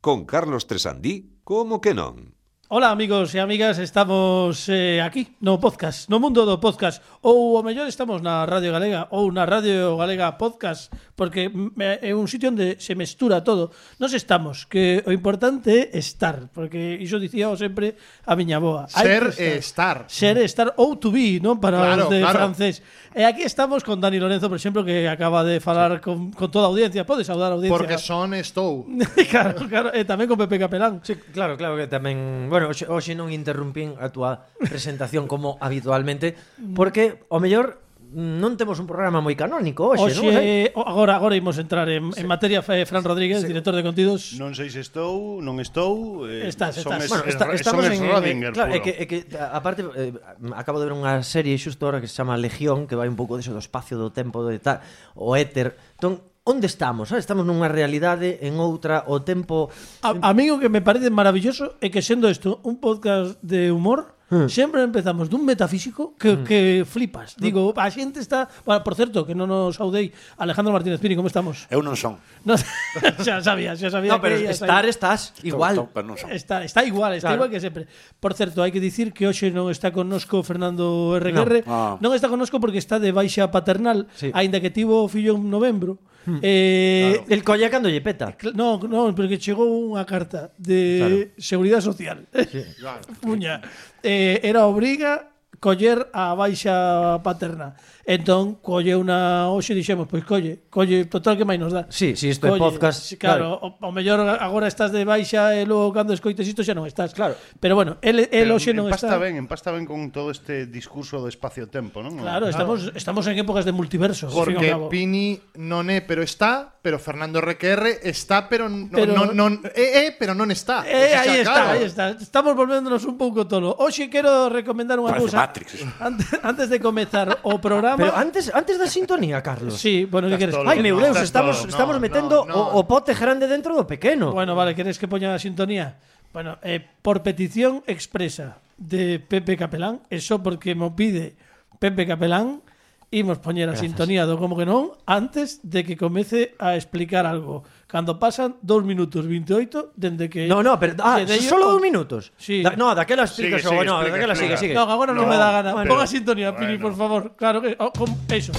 con Carlos Tresandí, como que non? Ola amigos e amigas, estamos eh, aquí no podcast, no mundo do podcast Ou o mellor estamos na Radio Galega ou na Radio Galega Podcast Porque mm, é un sitio onde se mestura todo Nos estamos, que o importante é estar Porque iso dicíao sempre a miña boa Hai Ser que e estar. Ser e estar ou to be, non? Para Claro, os de claro. francés E aquí estamos con Dani Lorenzo, por exemplo, que acaba de falar con, con toda a audiencia Podes saudar a audiencia Porque son estou. Claro, claro, e tamén con Pepe Capelán Sí, claro, claro que tamén, bueno, hoxe, hoxe non interrumpín a túa presentación como habitualmente, porque o mellor non temos un programa moi canónico hoxe, non? Oxe, o- agora agora imos entrar en, en materia eh, Fran Rodríguez, director de contidos. Non sei se estou, non estou, eh, Estás, son estás. es- Bueno, es- esta- son eh, Schrödinger claro, é puro. que, é que a- aparte eh, acabo de ver unha serie xusto ahora que se chama Legión, que vai un pouco deso do espacio, do tempo, do tal, o éter. Entón, onde estamos? sabes? Estamos nunha realidade, en outra, o tempo A, a mí o que me parece maravilloso é que sendo isto un podcast de humor, Hmm. sempre empezamos dun metafísico que, que flipas. Digo, a xente está, bueno, por certo, que non nos saudei, Alejandro Martínez Pini, como estamos? Eu non son. No, xa sabía, xa sabía No, pero que ia sair. estar estás igual. Estou- pero non son. Está, está igual, está Claro. igual que sempre. Por certo, hai que dicir que hoxe non está connosco Fernando RQR. No. Ah. Non está connosco porque está de baixa paternal, Sí. aínda que tivo o fillo en novembro. Eh, El colla cando lle peta. cl- No, no, porque chegou unha carta de Seguridade Social. Puña. Eh, era obriga coller a baixa paterna. Entón, colle unha... Hoxe dixemos, pois colle, colle, total que máis nos dá. Sí, sí, isto é podcast, sí, Claro, o, o mellor agora estás de baixa e logo cando escoites isto xa non estás. Claro. Pero bueno, el, el Pero hoxe non empasta está. ben, empasta ben con todo este discurso do espacio-tempo, non? Claro, estamos estamos en épocas de multiverso. ao fin e Porque ao cabo. Pini non é, pero está, pero Fernando Requerre está, pero non Pero- non non é, é, pero non está. Pues Eh, O sea, aí está, claro. aí está. Estamos volvéndonos un pouco tolo. Hoxe quero recomendar unha Parece cousa. Matrix. Antes, antes de comezar o programa. Pero antes antes da sintonía, Carlos. Sí, bueno, que queres? tolo. Ai, meu Deus, Estás estamos todo. estamos No, metendo no, no. O, o pote grande dentro do pequeno. Bueno, vale, ¿queréis que poña a sintonía? Bueno, eh, por petición expresa de Pepe Capelán, eso porque me pide Pepe Capelán, imos poñer a sintonía do como que non antes de que comece a explicar algo. Cando pasan 2 minutos 28 dende que No, no, pero ah, lle dei solo o- dos minutos. Sí. Da- no, daquela Sigue, explica, sigue, no, explica, daquela sigue, sigue. explica. No, agora non No, me dá gana. bueno. Ponga sintonía, Pini, por Bueno. favor. Claro que oh, com- eso.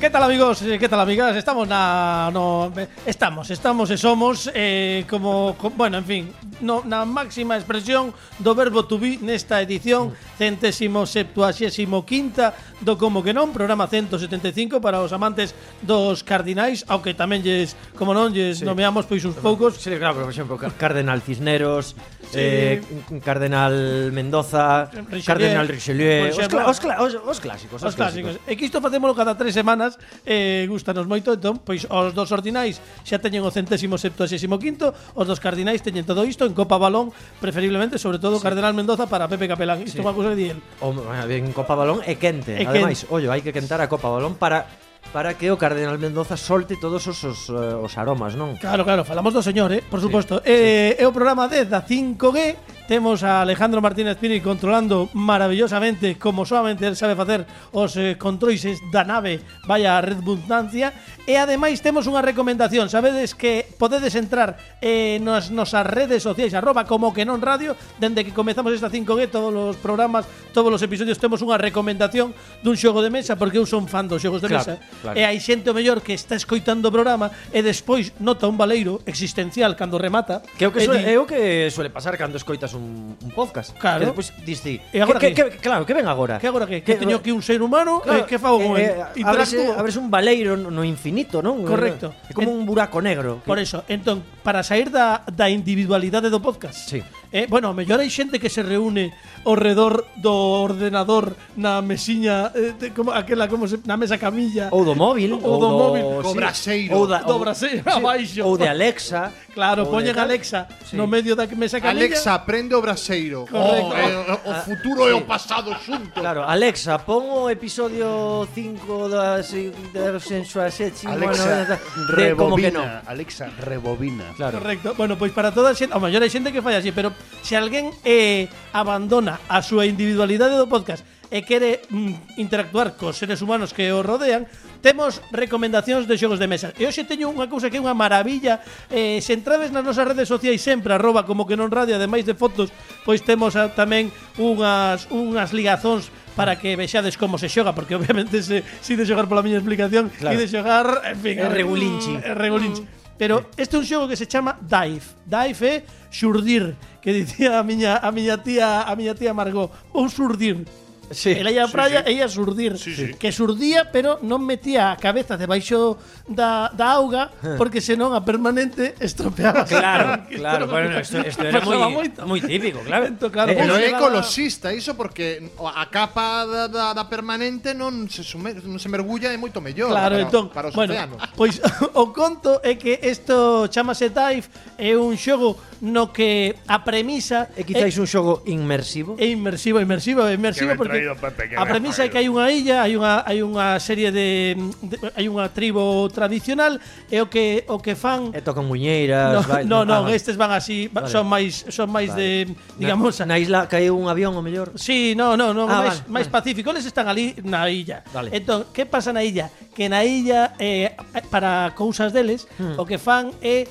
Que tal amigos, Eh, que tal amigas, estamos na no eh, estamos, estamos e somos eh, como co- bueno, en fin, no, na máxima expresión do verbo to be nesta Mm. edición centésimo septuagésimo quinta do como que non, programa 175 para os amantes dos cardinais, aunque tamén lles, como non lles nomeamos pois uns poucos, Sí, claro, pero, por exemplo, Car- Cardenal Cisneros, eh, Cardenal Mendoza, Richelieu, Cardenal por Richelieu, os, cla- exemplo. os, cla- os, os clásicos, Os clásicos. E que isto facémolo cada tres semanas eh, Gústanos moito Entón, pois os dos ordinais Xa teñen o centésimo septuagésimo quinto Os dos cardinais teñen todo isto En Copa Balón Preferiblemente, sobre todo, Cardenal Mendoza Para Pepe Capelán Isto é unha cousa que di el O, bueno, en Copa Balón é quente. É Ademais, ollo, hai que quentar a Copa Balón para para que o Cardenal Mendoza solte todos os, os, eh, os aromas, non? Claro, claro, falamos do señor, eh, por suposto eh, É o programa 10 da 5G Temos a Alejandro Martínez Pini controlando maravillosamente Como solamente él sabe facer os eh, controises da nave Vaya redundancia E ademais temos unha recomendación Sabedes que podedes entrar eh, nas nosas redes sociais Arroba como que non radio Dende que comezamos esta 5G Todos os programas, todos os episodios Temos unha recomendación dun xogo de mesa Porque eu son fan dos xogos de Claro, mesa claro. E hai xente o mellor que está escoitando o programa e despois nota un baleiro existencial cando remata. Que é o que e suele, di, é o que suele pasar cando escoitas un, un podcast. Claro. Que despois dis ti, E agora que, que? que, que, claro, que ven agora? Que agora que, que teño aquí un ser humano, claro, eh, que fago con eh, eh, eh, el? Abrese, Interactúo. abrese un baleiro no no infinito, non? Correcto. É como un buraco negro. Por eso, entón, para sair da, da individualidade do podcast Sí. eh, Bueno, mellor hai xente que se reúne ao redor do ordenador Na mesiña, eh, de, como, aquela, como se, na mesa camilla Ou do móvil. Ou do móvil. Co braseiro. Ou da, Do ou- braseiro abaixo. Ou de Alexa. Claro, Ou poñen de tal. Alexa Sí. no medio da que mesa camilla. Alexa, aprende o braseiro. Correcto. Ah, O, eh, o futuro e o pasado xunto. Claro, Alexa, pon o episodio 5 da se- da Sensua Sexy. Alexa, de, como que non. rebobina. Alexa, rebobina. Claro. Correcto. Bueno, pois para toda a xente, ao mellor hai xente que fai así, pero se alguén eh, abandona a súa individualidade do podcast e quere mm, interactuar cos seres humanos que o rodean, temos recomendacións de xogos de mesa. E hoxe teño unha cousa que é unha maravilla. Eh, se entrades nas nosas redes sociais sempre, arroba como que non radio, ademais de fotos, pois temos ah, tamén unhas, unhas ligazóns para que vexades como se xoga, porque obviamente se, se de xogar pola miña explicación, claro. Claro. de xogar, en fin, É regulinchi. é regulinchi. Eh, Mm. Pero este é un xogo que se chama Dive. Dive é xurdir, que dicía a miña a miña tía, a miña tía Margot, vou xurdir. Sí. Ela ia á sí, praia, sí. ella xurdir, Sí, sí. que xurdía, pero non metía a cabeza debaixo da, da auga, Eh. porque senón a permanente estropeaba. Claro, claro. Bueno, esto, esto era Pasaba muy, moito. muy típico, claro. Eh, Entón, claro, Pero pois é levaba- ecoloxista iso porque a capa da, da, da permanente non se sume, non se mergulla é moito mellor Claro, para, entón, para os bueno, océanos. pois o conto é que isto chamase Dive, é un xogo no que a premisa E quizáis un xogo inmersivo. É inmersivo, inmersivo, inmersivo ben porque traído, Pepe, que a ben premisa é traído. que hai unha illa, hai unha hai unha serie de, de hai unha tribo tradicional e o que o que fan E tocan No, muñeiras. bail- no, no, ah, estes van así, va- Vale. son máis son máis Vale. de digamos Na, na isla caiu un avión, o mellor. Sí, no, no, no, Ah, máis, vale, máis vale. pacífico. Eles están ali na illa. Vale. Entón, que pasa na illa? Que na illa, eh, para cousas deles, Hmm. o que fan é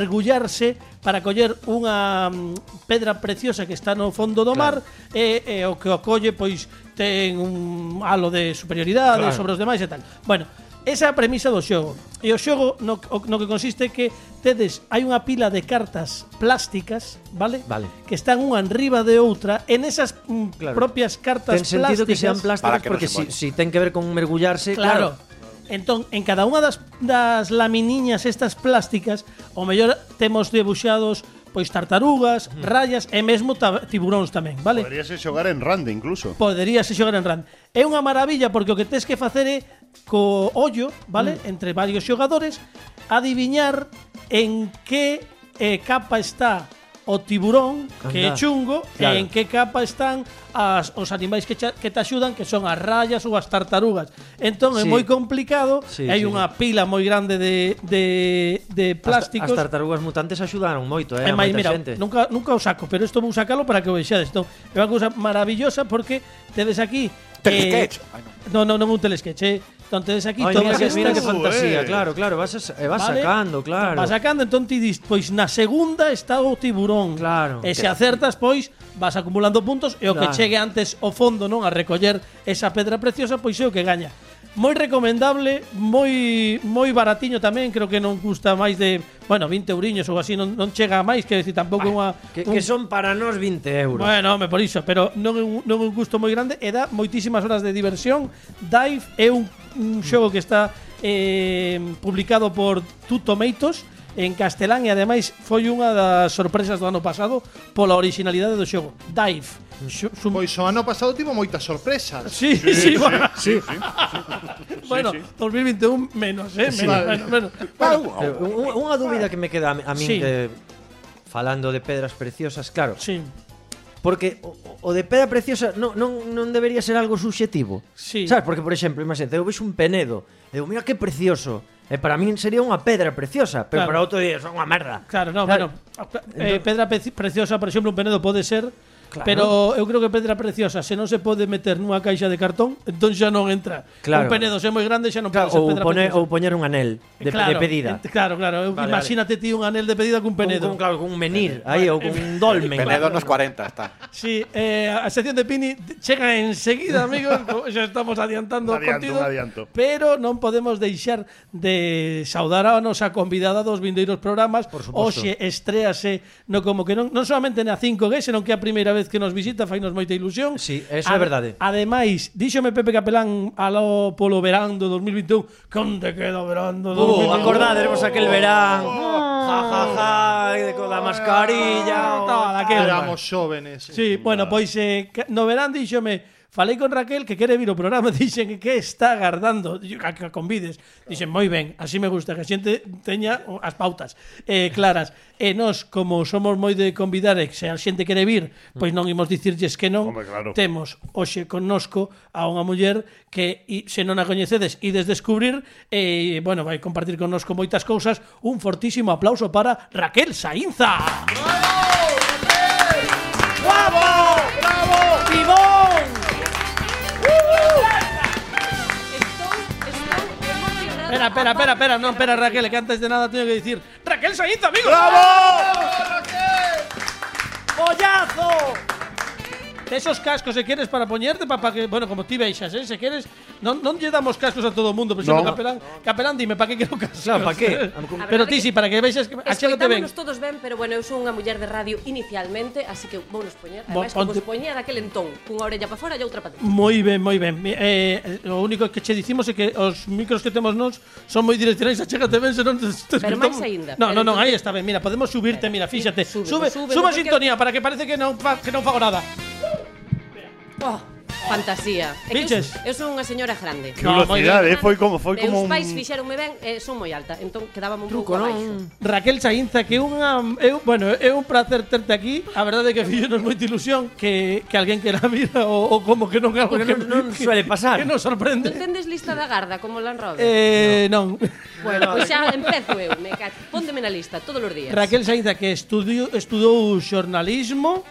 mergullarse para coller unha mm, pedra preciosa que está no fondo do mar e, e o que o colle, pois, ten un halo de superioridade Claro. sobre os demais e tal. Bueno, Esa é a premisa do xogo. E o xogo no, o- no que consiste é que tedes hai unha pila de cartas plásticas, vale? Vale. que están unha enriba de outra en esas mm, Claro. propias cartas Ten sentido que plásticas. sean plásticas Para que non porque se si, molle. si ten que ver con mergullarse, Claro. claro. Entón, en cada unha das, das laminiñas estas plásticas, o mellor temos debuxados pois tartarugas, rayas e mesmo ta- tiburóns tamén, vale? Podrías xogar en Rande incluso. poderíase xogar en Rand. É unha maravilla porque o que tes que facer é co ollo, vale, Mm. entre varios xogadores, adiviñar en que eh, capa está o tiburón, que é Anda. chungo, Claro. e en que capa están as, os animais que, cha, que te axudan, que son as rayas ou as tartarugas. Entón, é Sí. moi complicado, e Sí, hai sí, unha pila moi grande de, de, de plásticos. As, as tartarugas mutantes axudaron moito, É eh, a máis, moita mira, xente. nunca, nunca o saco, pero isto vou sacalo para que o vexades. Entón, é unha cousa maravillosa porque tedes aquí... Telesketch. Eh, non, non, non é un telesketch, eh. Entón, tedes aquí Ai, mira, todas que, estas... mira que fan- fantasía, eh. claro, claro, vas, as- e vas Vale. sacando, claro. Vas sacando, entón ti dis, pois na segunda está o tiburón. Claro. E se acertas, pois vas acumulando puntos e o que Claro. chegue antes o fondo, non, a recoller esa pedra preciosa, pois é o que gaña. Moi recomendable, moi moi baratiño tamén, creo que non custa máis de, bueno, 20 euriños ou así, non, non chega a máis, quero dicir, tampouco é unha que, un que son para nós 20 euros. Bueno, home, por iso, pero non é un, non é un gusto moi grande e dá moitísimas horas de diversión. Dive é un, un xogo que está eh, publicado por Two Tomatoes en castelán e ademais foi unha das sorpresas do ano pasado pola originalidade do xogo. Dive. Xo- xun- Pois o ano pasado tivo moitas sorpresas. Sí, sí, sí, bueno, Sí, sí. bueno 2021 menos, eh, menos, menos, menos. Pero Eh, un- Unha dúbida que me queda a mi- a min Sí. de falando de pedras preciosas, claro, Sí, porque o, o de pedra preciosa non, non, non debería ser algo subxetivo. Sí. Sabes, porque por exemplo, imagínate, eu vexo un penedo, e digo, mira que precioso. E para min sería unha pedra preciosa, pero Claro. para outro día son unha merda. Claro, no, Claro. bueno. eh, pedra Preci- preciosa, por exemplo, un penedo pode ser. Claro. Pero eu creo que pedra preciosa, se non se pode meter nunha caixa de cartón, entón xa non entra. Claro. Un penedo se é moi grande xa non Claro, pode ser ou, pedra pone, preciosa. ou poñer un anel de, claro, de pedida. ent- Claro, claro. eu- Vale, imagínate ti un anel de pedida cun penedo. Con, con, claro, con un menir aí, ou con un dolmen. Penedo nos 40 está. Sí, eh, a sección de Pini t- chega enseguida, amigos. co- xa estamos adiantando o Un adianto, contido, un adianto. Pero non podemos deixar de saudar a nosa convidada dos vindeiros programas. Por suposto. Oxe, estréase no como que non, non solamente na 5G, senón que é a primeira vez que nos visita, fainos moita ilusión. Sí, eso é verdade. Ademais, díxome Pepe Capelán alo polo verán do 2021, que onde queda o verán do 2021? Uh, acordades vos Oh, aquel verán. Ah. Ja, ja, ja, e con la mascarilla. Tal, aquel. Éramos xóvenes. Sí, bueno, pois eh, ca- no verán díxome Falei con Raquel que quere vir o programa Dixen que está agardando Digo, a que a convides Dixen, moi ben, así me gusta Que a xente teña as pautas eh, claras E nós, como somos moi de convidar E que se a xente quere vir Pois non imos dicirlles que non Home, claro. Temos hoxe connosco a unha muller Que i- se non a coñecedes Ides descubrir E, bueno, vai compartir connosco moitas cousas Un fortísimo aplauso para Raquel Sainza ¡Bravo! ¡Bravo! ¡Pibón! Espera, espera, espera, espera, no, espera, Raquel, que antes de nada tengo que decir. ¡Raquel Sainz, amigos! ¡Bravo! ¡Pollazo! De Esos cascos, se quieres para ponerte, para que. Bueno, como ti veixas, ¿eh? Se quieres. No, no lle damos cascos a todo el mundo, pero No. no. Capelán, Capelán, dime, ¿para qué quiero cascos? Claro, pa qué? Pero ti sí, para que veixas. que- Así é lo que ven. Escoitámonos todos ben, pero bueno, eu sou unha muller de radio inicialmente, así que vou nos poñer, Bo- ademais, como ponte- os poñía daquel entón, cunha orella para fora e outra para dentro. Moi ben, moi ben. Mi- Eh, o único que che dicimos é que os micros que temos nós son moi direccionais, achégate ben, senón te, te Pero máis escoitamos. aínda. No, no, no, Pero entonces- aí está ben. Mira, podemos subirte, mira, fíxate. súbelo, sube, súbelo, sube a porque- sintonía para que parece que non fa, que non fago nada. Oh, fantasía. É que eu- Biches. eu sou unha señora grande. Que velocidade, eh, foi como- foi Meus como un- pais fixeronme ben, eh, son moi alta, entón quedábame un pouco Truco, non? abaixo. Raquel Sainza, que é unha é un, bueno, é un placer terte aquí. A verdade é que fíxonos moita ilusión que que alguén que la mira ou, ou como que non algo Porque que non- non que- suele pasar. Que nos Non sorprende. tendes lista da garda como Lan Rober? Eh, non. bueno, pois xa empezo eu, me cacho. Póndeme na lista todos os días. Raquel Sainza que estudiou estudou xornalismo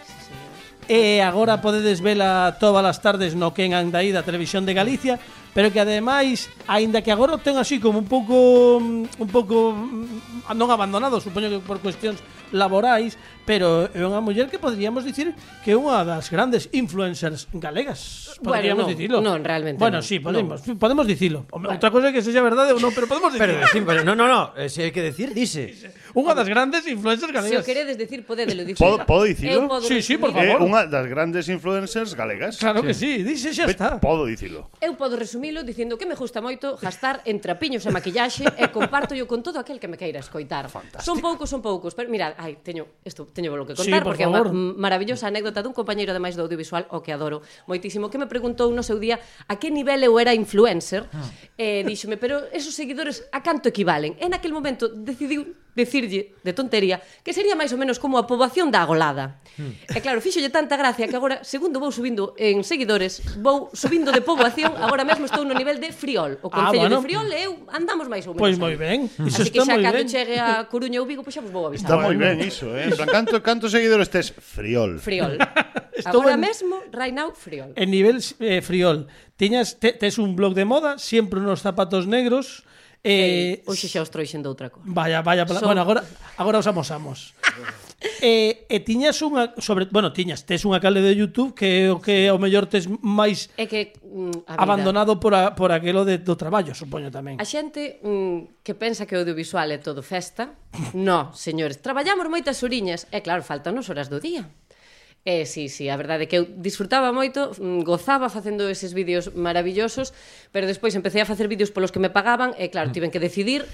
e agora podedes vela todas as tardes no Quen anda aí da Televisión de Galicia, pero que ademais, aínda que agora o ten así como un pouco mm, un pouco mm, non abandonado, supoño que por cuestións laborais, pero é unha muller que poderíamos dicir que é unha das grandes influencers galegas. Bueno, Poderíamos non, dicilo. non, realmente Bueno, non, sí, podemos, podemos dicilo. Home, Outra cosa é que sexa verdade ou non, pero podemos Pero, dicilo. decir, pero no, no, no, eh, si hay que decir, dice. Unha das grandes influencers Se o galegas. queredes dicir, podédelo dicir. Podo- podo Eu dicilo? podo Sí, sí, por favor. resumir- É Eh, unha das grandes influencers galegas. Ah, Claro que sí, dice xa Ve, está. Podo dicilo. Eu podo resumilo dicindo que me gusta moito gastar en trapiños e maquillaxe e comparto con todo aquel que me queira escoitar. Son poucos, son poucos, pero mirad, ai, teño, isto teño lo que Sí, contar por porque é unha favor. m- maravillosa anécdota dun compañeiro ademais do audiovisual o que adoro moitísimo que me preguntou no seu día a que nivel eu era influencer Ah. e eh, díxome, pero esos seguidores a canto equivalen? E naquel momento decidiu decirlle de tontería que sería máis ou menos como a poboación da agolada. Hmm. E claro, fíxolle tanta gracia que agora, segundo vou subindo en seguidores, vou subindo de poboación, agora mesmo estou no nivel de Friol. O Ah, Concello bueno. ah, bueno. de Friol e eu andamos máis ou menos. Pois aí. moi ben, iso Así que está xa moi cando ben. chegue a Coruña ou Vigo, pois xa vos vou avisar. Está Ah, moi ben iso, eh? En plan, canto, cantos seguidores tes? Friol. Friol. Estou en- Agora mesmo, right now, Friol. En nivel eh, friol, tiñas te, tes un blog de moda, sempre unos zapatos negros. Eh, Eh, hoxe xa os trouxen de outra cosa. Vaya, vaya, pla- Son- bueno, agora agora os amosamos. eh, e tiñas unha sobre, bueno, tiñas, tes unha cale de YouTube que é o que ao mellor tes máis É que mm, a vida, abandonado por a, por aquilo de, do traballo, supoño tamén. A xente mm, que pensa que o audiovisual é todo festa, no, señores, traballamos moitas uriñas, e claro, faltanos horas do día. Eh, sí, sí, a verdade é que eu disfrutaba moito, mm, gozaba facendo eses vídeos maravillosos, pero despois empecé a facer vídeos polos que me pagaban, e claro, tiven que decidir,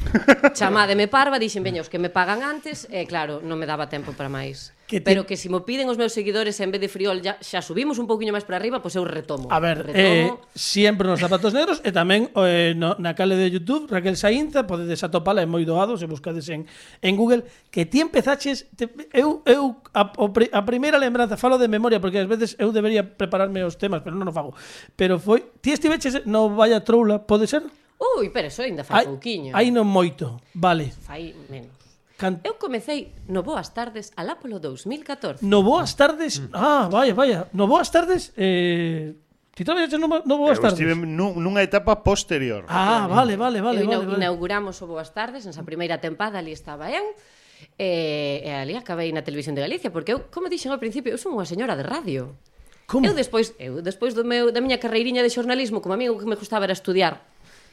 chamádeme parva, dixen, veña, os que me pagan antes, e claro, non me daba tempo para máis. Que te- Pero que se mo piden os meus seguidores en vez de friol, ya, xa subimos un pouquiño máis para arriba, pois eu retomo. A ver, eh, retomo. sempre nos zapatos negros e tamén eh, no, na cale de YouTube Raquel Sainza, podedes atopala, é moi doado se buscades en, en Google que ti empezaches, te, eu, eu a, o pri- a primeira lembranza, falo de memoria porque ás veces eu debería prepararme os temas pero non o fago, pero foi ti estiveches no Valla Troula, pode ser? Ui, pero eso ainda fai pouquiño. Aí non moito, vale Fai menos. Can, Eu comecei no Boas Tardes alá polo 2014. No Boas Tardes, Mm. ah, vaya, vaya no Boas Tardes eh, ti traballaches no, Bo- no Boas Eu Tardes? estive nu- nunha etapa posterior. Ah, vale, vale, vale, vale, eu inau- vale. inauguramos o Boas Tardes, nesa primeira tempada ali estaba eu, e, e ali acabei na televisión de Galicia, porque eu, como dixen ao principio, eu son unha señora de radio. Como? Eu despois, eu despois do meu, da miña carreiriña de xornalismo, como a mí o que me gustaba era estudiar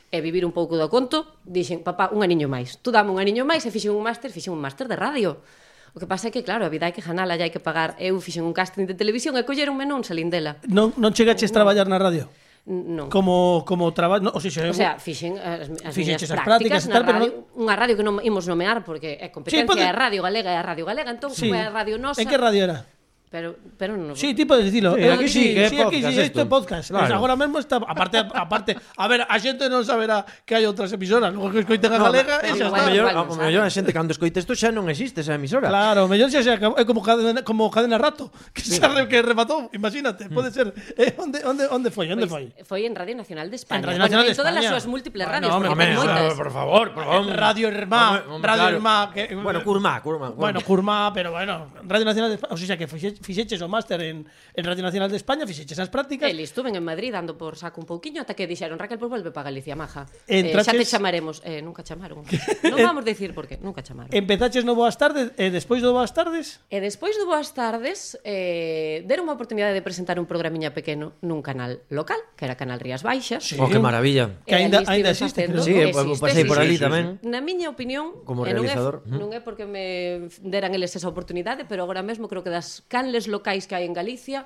e vivir un pouco do conto, dixen, papá, un aniño máis. Tú dame un aniño máis e fixen un máster, fixen un máster de radio. O que pasa é que, claro, a vida hai que janala, hai que pagar. Eu fixen un casting de televisión e colleronme non salindela. Non, non chegaches a traballar na radio? N- Non. Como, como traballo... No, o, sea, O sea, fixen eh, as, as Fixeches miñas as prácticas, prácticas e na tal, pero radio, unha radio que non imos nomear porque é competencia, Sí, pode- é Radio Galega, é Radio Galega, entón sí. foi a Radio Nosa. En que radio era? Pero, pero non. Sí, tipo de dicilo. Sí, eh, aquí sí, que é aquí podcast sí, isto é isto. podcast. Claro. Claro. Pues agora mesmo está aparte aparte, a ver, a xente non saberá que hai outras emisoras, logo que escoiten a galega, e xa no, no, está. no, mellor, igual non ao mellor a xente cando escoite isto xa non existe esa emisora. Claro, mellor xa se acabou, é como cadena, como cadena rato, que xa re, que rematou, imagínate, Mm. pode ser. Eh, onde onde onde foi? Onde foi? Pois, foi en Radio Nacional de España. En Radio Nacional de bueno, en todas as España. súas múltiples Bueno, radios, home, porque home, ten moitas. por favor, por favor. Eh, Radio Hermá, Home, home, Radio claro. Hermá, que eh, Bueno, Curmá, Curmá. Bueno, Curmá, pero bueno, Radio Nacional de España, o sea, que fixe- fixeches o máster en, en Radio Nacional de España, fixeches as prácticas. Eles estuven en Madrid dando por saco un pouquiño ata que dixeron Raquel, pois volve para Galicia, maja. Eh, xa te Entraches- chamaremos. Eh, nunca chamaron. non vamos decir por qué, nunca chamaron. Empezaches no Boas Tardes, e despois do Boas Tardes, E despois de Boas Tardes, eh, deron unha oportunidade de presentar un programiña pequeno nun canal local, que era Canal Rías Baixas. Oh, que maravilla. E Que aínda- ali aínda estiven existe, facendo- creo. Sí, eu pasei por ali existe. tamén. Na miña opinión, Como e non é- realizador, mm. non é porque me deran eles esa oportunidade, pero agora mesmo creo que das canles locais que hai en Galicia,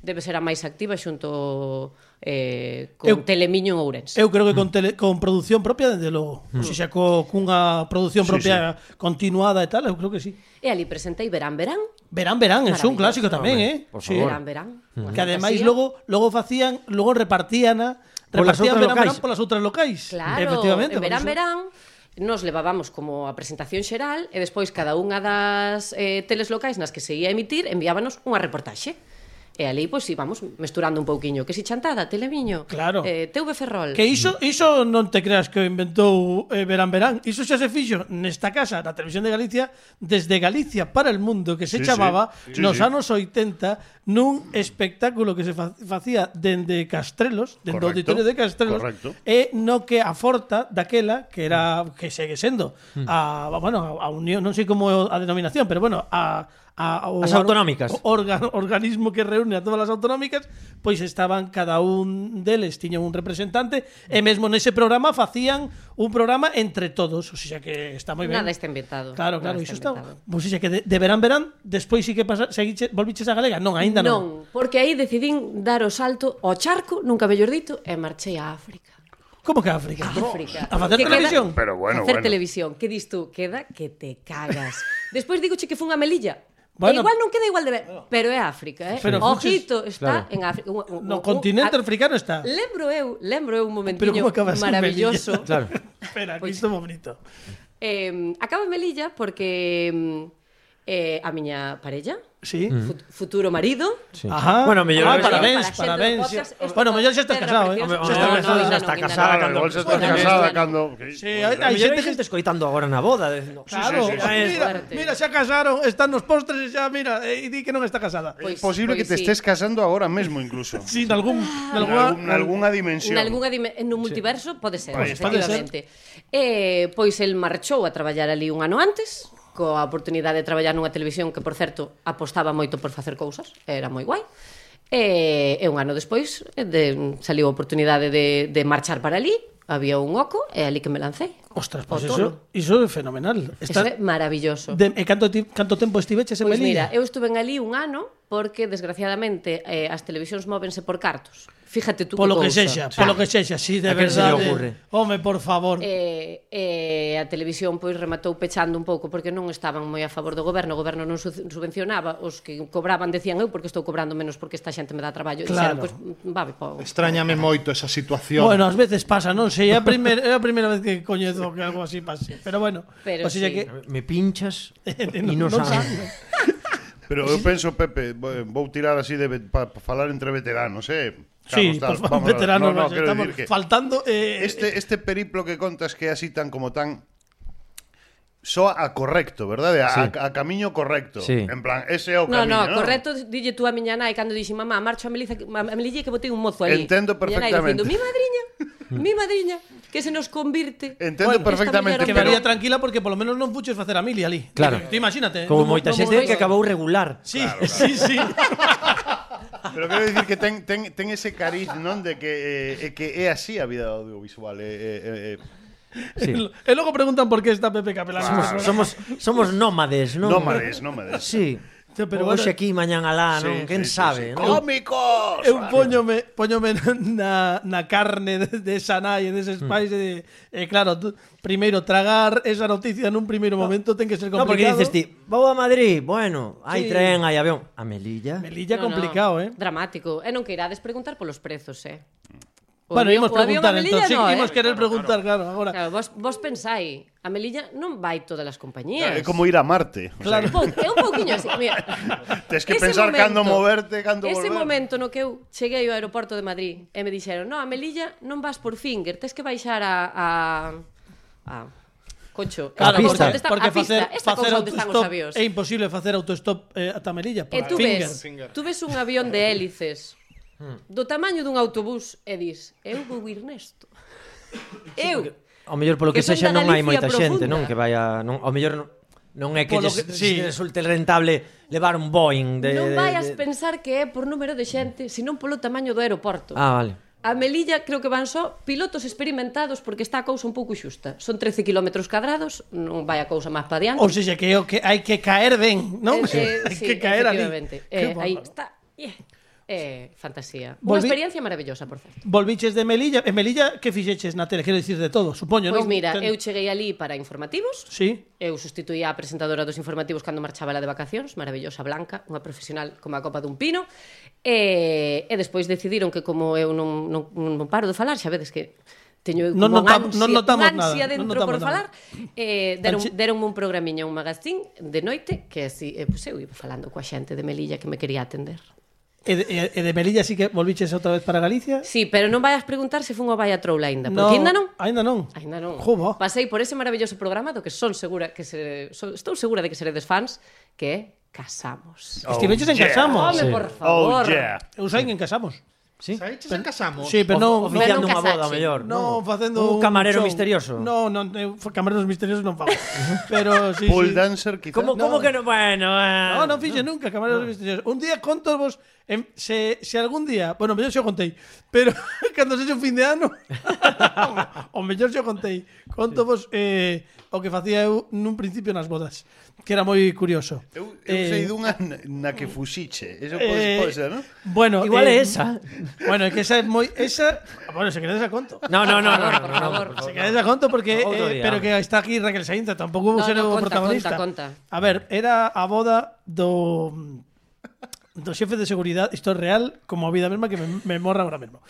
debe ser a máis activa xunto eh, con Eu- Telemiño en Ourense. eu creo que Mm. con, tele, con produción propia, desde logo. Mm. Se xa co, cunha produción propia continuada e tal, eu creo que sí. E ali presentei Verán Verán. Verán, verán, é un Maravilloso. clásico tamén, eh? por Sí. Mm. favor. Verán Verán. Que ademais Fantasía. logo logo facían, logo repartían a Polas repartían outras verán, locais. verán polas outras locais. Claro, Efectivamente, en por verán, iso. verán, nos levábamos como a presentación xeral e despois cada unha das eh, teles locais nas que se ia emitir enviábanos unha reportaxe. E ali, pois, íbamos mesturando un pouquiño. Que si chantada, telemiño, Claro. eh, TV Ferrol. Que iso, iso non te creas que o inventou eh, Verán Verán Iso xa se fixo nesta casa na televisión de Galicia Desde Galicia para el mundo Que se Sí, chamaba sí. Sí, nos sí. anos 80 Nun espectáculo que se fa- facía dende Castrelos Dende o Correcto, auditorio de Castrelos correcto. E no que a Forta daquela Que era que segue sendo Hmm. a, Bueno, a unión, non sei como é a denominación Pero bueno, a, a, o- As autonómicas. o- orga- organismo que reúne a todas as autonómicas, pois estaban cada un deles tiña un representante e mesmo nese programa facían un programa entre todos, o sea que está moi ben. Nada está inventado. Claro, Nada claro, iso está está. inventado. Pois xa que de, de verán verán, despois sí que pasa, seguiche, volviches a Galega? Non, aínda non. non, porque aí decidín dar o salto ao charco, nunca mellor dito, e marchei a África. Como que a África? África. A facer Que queda- televisión. Pero a bueno, hacer bueno. televisión. Que dis tú? Queda que te cagas. Despois digo que fun a Melilla. Bueno. Bueno, igual non queda igual de ben, pero é África, eh? Pero fuches- Ojito, está en África. Un- un- No un- continente a- africano está. Lembro eu, lembro eu un Pero momentiño como acabas en maravilloso. Melilla? Claro. Espera, que isto é moi bonito. Eh, acabo en Melilla porque mm, eh, a miña parella, Sí. fut- futuro marido, Sí. Ajá. Bueno, mellor ah, ahora- parabéns, Para a xente parabéns. do podcast, esto bueno, mellor xa estás terra casado, eh. preciosa. Xa Hombre, estás no, casado, no, xa no, estás no, no, casada, no, Claro, Cando. igual se está Bueno, casada bueno. cando... Sí, hai, Hai hai xente que gente escoitando agora na boda. de- no. Claro, sí, sí, mira, sí. Ah, Fuerte. mira, xa casaron, están nos postres e xa, mira, e di que non está casada. Pois- es posible pois que te sí. estés casando ahora mismo incluso. Sí, nalgún, en, nalgúa- algún- en alguna dimensión. Nalgúnha dime, en un multiverso pode ser, Pois, pode ser. efectivamente. Eh, pois el marchou a traballar ali un ano antes, coa oportunidade de traballar nunha televisión que, por certo, apostaba moito por facer cousas, era moi guai. E, e un ano despois eh, de, saliu a oportunidade de, de marchar para ali, había un oco, e ali que me lancei. Ostras, pois O iso, tolo. iso é fenomenal. Está... Eso é Está, maravilloso. de, e canto, ti- canto tempo estiveches en Pois Melilla? mira, eu estuve en ali un ano porque, desgraciadamente, eh, as televisións móvense por cartos. Fíjate tú polo que cousa. sexa, polo que sexa, sí, de A quen se verdade. lle ocurre? Home, por favor. Eh, E, e a televisión pois rematou pechando un pouco porque non estaban moi a favor do goberno, o goberno non su- subvencionaba, os que cobraban decían eu porque estou cobrando menos porque esta xente me dá traballo. Claro. Claro. Dixeron, pois vabe, po. Extrañame moito esa situación. Bueno, ás veces pasa, non sei, é a primeira, é a primeira vez que coñezo que algo así pase. Pero bueno, o Pero sea sí. que Me pinchas e non- non non sabes. Pero eu penso, Pepe, bo- vou tirar así de para falar entre veteranos, eh. Sí, Carlos, tal, por favor, vamos a ver. veteranos, No, no, vas, quero estamos dicir que faltando eh, este este periplo que contas que é así tan como tan soa a correcto, verdade? A, Sí. a, a camiño correcto. Sí. En plan, ese é o No, camiño, no, correcto, dille tú a miña nai cando dixi mamá, marcho a Melilla, a Melilla que botei un mozo ali. Miña Entendo nai dicindo, perfectamente. mi madriña, mi madriña, que se nos convirte. Entendo Esta perfectamente, muller eh, que ao María mellor- tranquila porque polo menos non fuches facer a mili ali. Claro. Ti imagínate. Como non- moita non- xente que acabou regular. Sí, sí, sí. Pero quero dicir que ten, ten, ten ese cariz, non? De que, eh, eh, que é así a vida audiovisual. Eh, eh, eh, eh. Sí. E logo preguntan por que está Pepe Capelán. Somos somos somos nómades, non? Nómades, nómades. Sí. Pero bueno, hoxe aquí, mañán alá, Ah, non? Sí, Quen sí, sí, sabe, sí. non? ¡Cómicos! Eu póñome, póñome na, na carne de, de esa nai, deses pais e, e eh, claro, tú, primeiro tragar esa noticia nun primeiro momento ten que ser No, complicado. porque dices ti, vou a Madrid, bueno, hai Sí. tren, hai avión. A Melilla? Melilla complicado, eh? Dramático. E non que irades preguntar polos prezos, eh? O Bueno, avión- imos o avión preguntar, a Melilla entón, sí, no, eh? imos querer preguntar, claro, agora. Claro, vos, vos pensáis, a Melilla non vai todas as compañías. É como ir a Marte. O sea, Claro. Pou, é un pouquiño así, mira. Tes que pensar cando moverte, cando Ese volver. momento no que eu cheguei ao aeroporto de Madrid e me dixeron, no, a Melilla non vas por Finger, tes que baixar a... a, a Concho, Claro, pista. esta cousa onde está- a pista, esta cousa onde están os autostop avións. é imposible facer autostop eh, ata Melilla. E por tú finger. ves, tú ves un avión de hélices do tamaño dun autobús e dis, eu vou ir nesto. Eu, Ao mellor polo que, Que son sexa da non hai Galicia moita xente, non? profunda. Que vaya, non, ao mellor non, non é que, Polo lles, que- que sí. resulte rentable levar un Boeing de, non de- vayas de- pensar que é por número de xente, senón polo tamaño do aeroporto. Ah, vale. A Melilla creo que van só pilotos experimentados porque está a cousa un pouco xusta. Son 13 km cadrados, non vai a cousa máis pa Eh, diante. Ou seja, que, é o que hai que caer ben, non? hai que caer ali. Que Eh, aí bola. está. Eh, eh, fantasía. Unha Volvi- experiencia maravillosa, por certo. Volviches de Melilla, en Melilla que fixeches na tele, quero dicir de todo, supoño, non? Pois mira, Ten- eu cheguei ali para informativos, Sí. Eu sustituía a presentadora dos informativos cando marchaba la de vacacións, maravillosa Blanca, unha profesional como a copa dun pino, e, e despois decidiron que como eu non, non, non paro de falar, xa vedes que teño eu Non como notam- unha ansia, non notamos unha ansia nada, non dentro notamos por nada. falar, eh, deron, Anche- deronme un programiño, un magazín de noite, que así, eh, pois eu iba falando coa xente de Melilla que me quería atender. E de, e- e de Melilla sí que volviches outra vez para Galicia? Sí, pero non vaias preguntar se fun ao Baia Troula ainda, porque ainda non. Ainda non. Ainda non. Jobo. Pasei por ese maravilloso programa do que son segura que se, so, estou segura de que seredes fans, que é Casamos. Oh, Estiveches en Casamos. Home, por favor. Oh, yeah. Eu saín en Casamos. Sí. Saiches en casamos? Sí, pero non O- oficiando non unha boda, ao casache. mellor. No, non? facendo un show. camarero misterioso. No, non, eu fa- camareros misteriosos non fago. Pero sí, Pole sí. dancer, quizás. Como, como que non? Bueno, eh. No, non fixe nunca Ah. camareros misteriosos. Un día conto vos em, se, se algún día, bueno, mellor se o contei, pero cando sexe un fin de ano, o mellor se o contei, conto vos eh, o que facía eu nun principio nas bodas, que era moi curioso. Eu, eu Eh. sei dunha na, na que fuxiche. Eso pode, eh, pode ser, non? Bueno, Igual é eh, esa. Bueno, é que esa é moi esa, bueno, se queredes a conto. No, no, no, no, no, Por no, no, favor. por favor. Se quedes a conto porque Outro eh, día, pero home. que está aquí Raquel Sainz, tampouco vou No, ser no, o conta, protagonista. conta, conta. A ver, era a boda do do xefe de seguridade, isto é real, como a vida mesma que me, me morra agora mesmo.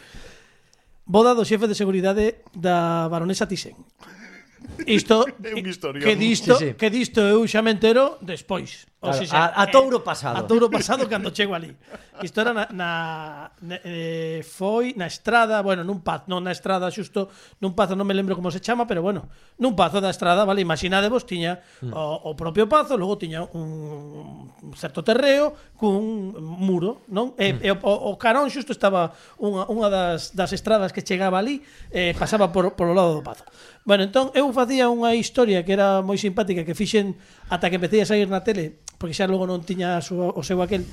Boda do xefe de seguridade da baronesa Thyssen. Isto É un historión. que disto, Sí, sí. que disto eu xa me entero despois. Claro, a- a touro pasado. eh, A touro pasado cando chego ali. Isto era na, na ne- eh, foi na estrada, bueno, nun paz, non na estrada xusto, nun pazo non me lembro como se chama, pero bueno, nun pazo da estrada, vale, imaginadevos tiña Hmm. o, o propio pazo, logo tiña un, un certo terreo cun muro, non? E, Hmm. e o, o carón xusto estaba unha, unha das, das estradas que chegaba ali, eh, pasaba por, polo lado do pazo. Bueno, entón eu facía unha historia que era moi simpática que fixen ata que empecé a sair na tele, porque xa logo non tiña a súa- o seu aquel,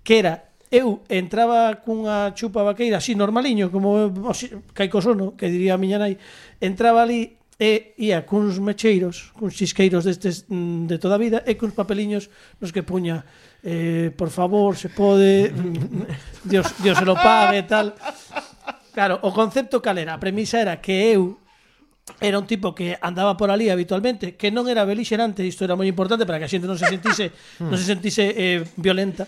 que era eu entraba cunha chupa vaqueira así normaliño, como así, caico sono, que diría a miña nai, entraba ali e ia cuns mecheiros, cuns chisqueiros destes mm, de toda a vida e cuns papeliños nos que puña eh, por favor, se pode mm, Dios, Dios se lo pague e tal Claro, o concepto cal era? A premisa era que eu era un tipo que andaba por ali habitualmente, que non era belixerante, isto era moi importante para que a xente non se sentise, non se sentise eh, violenta.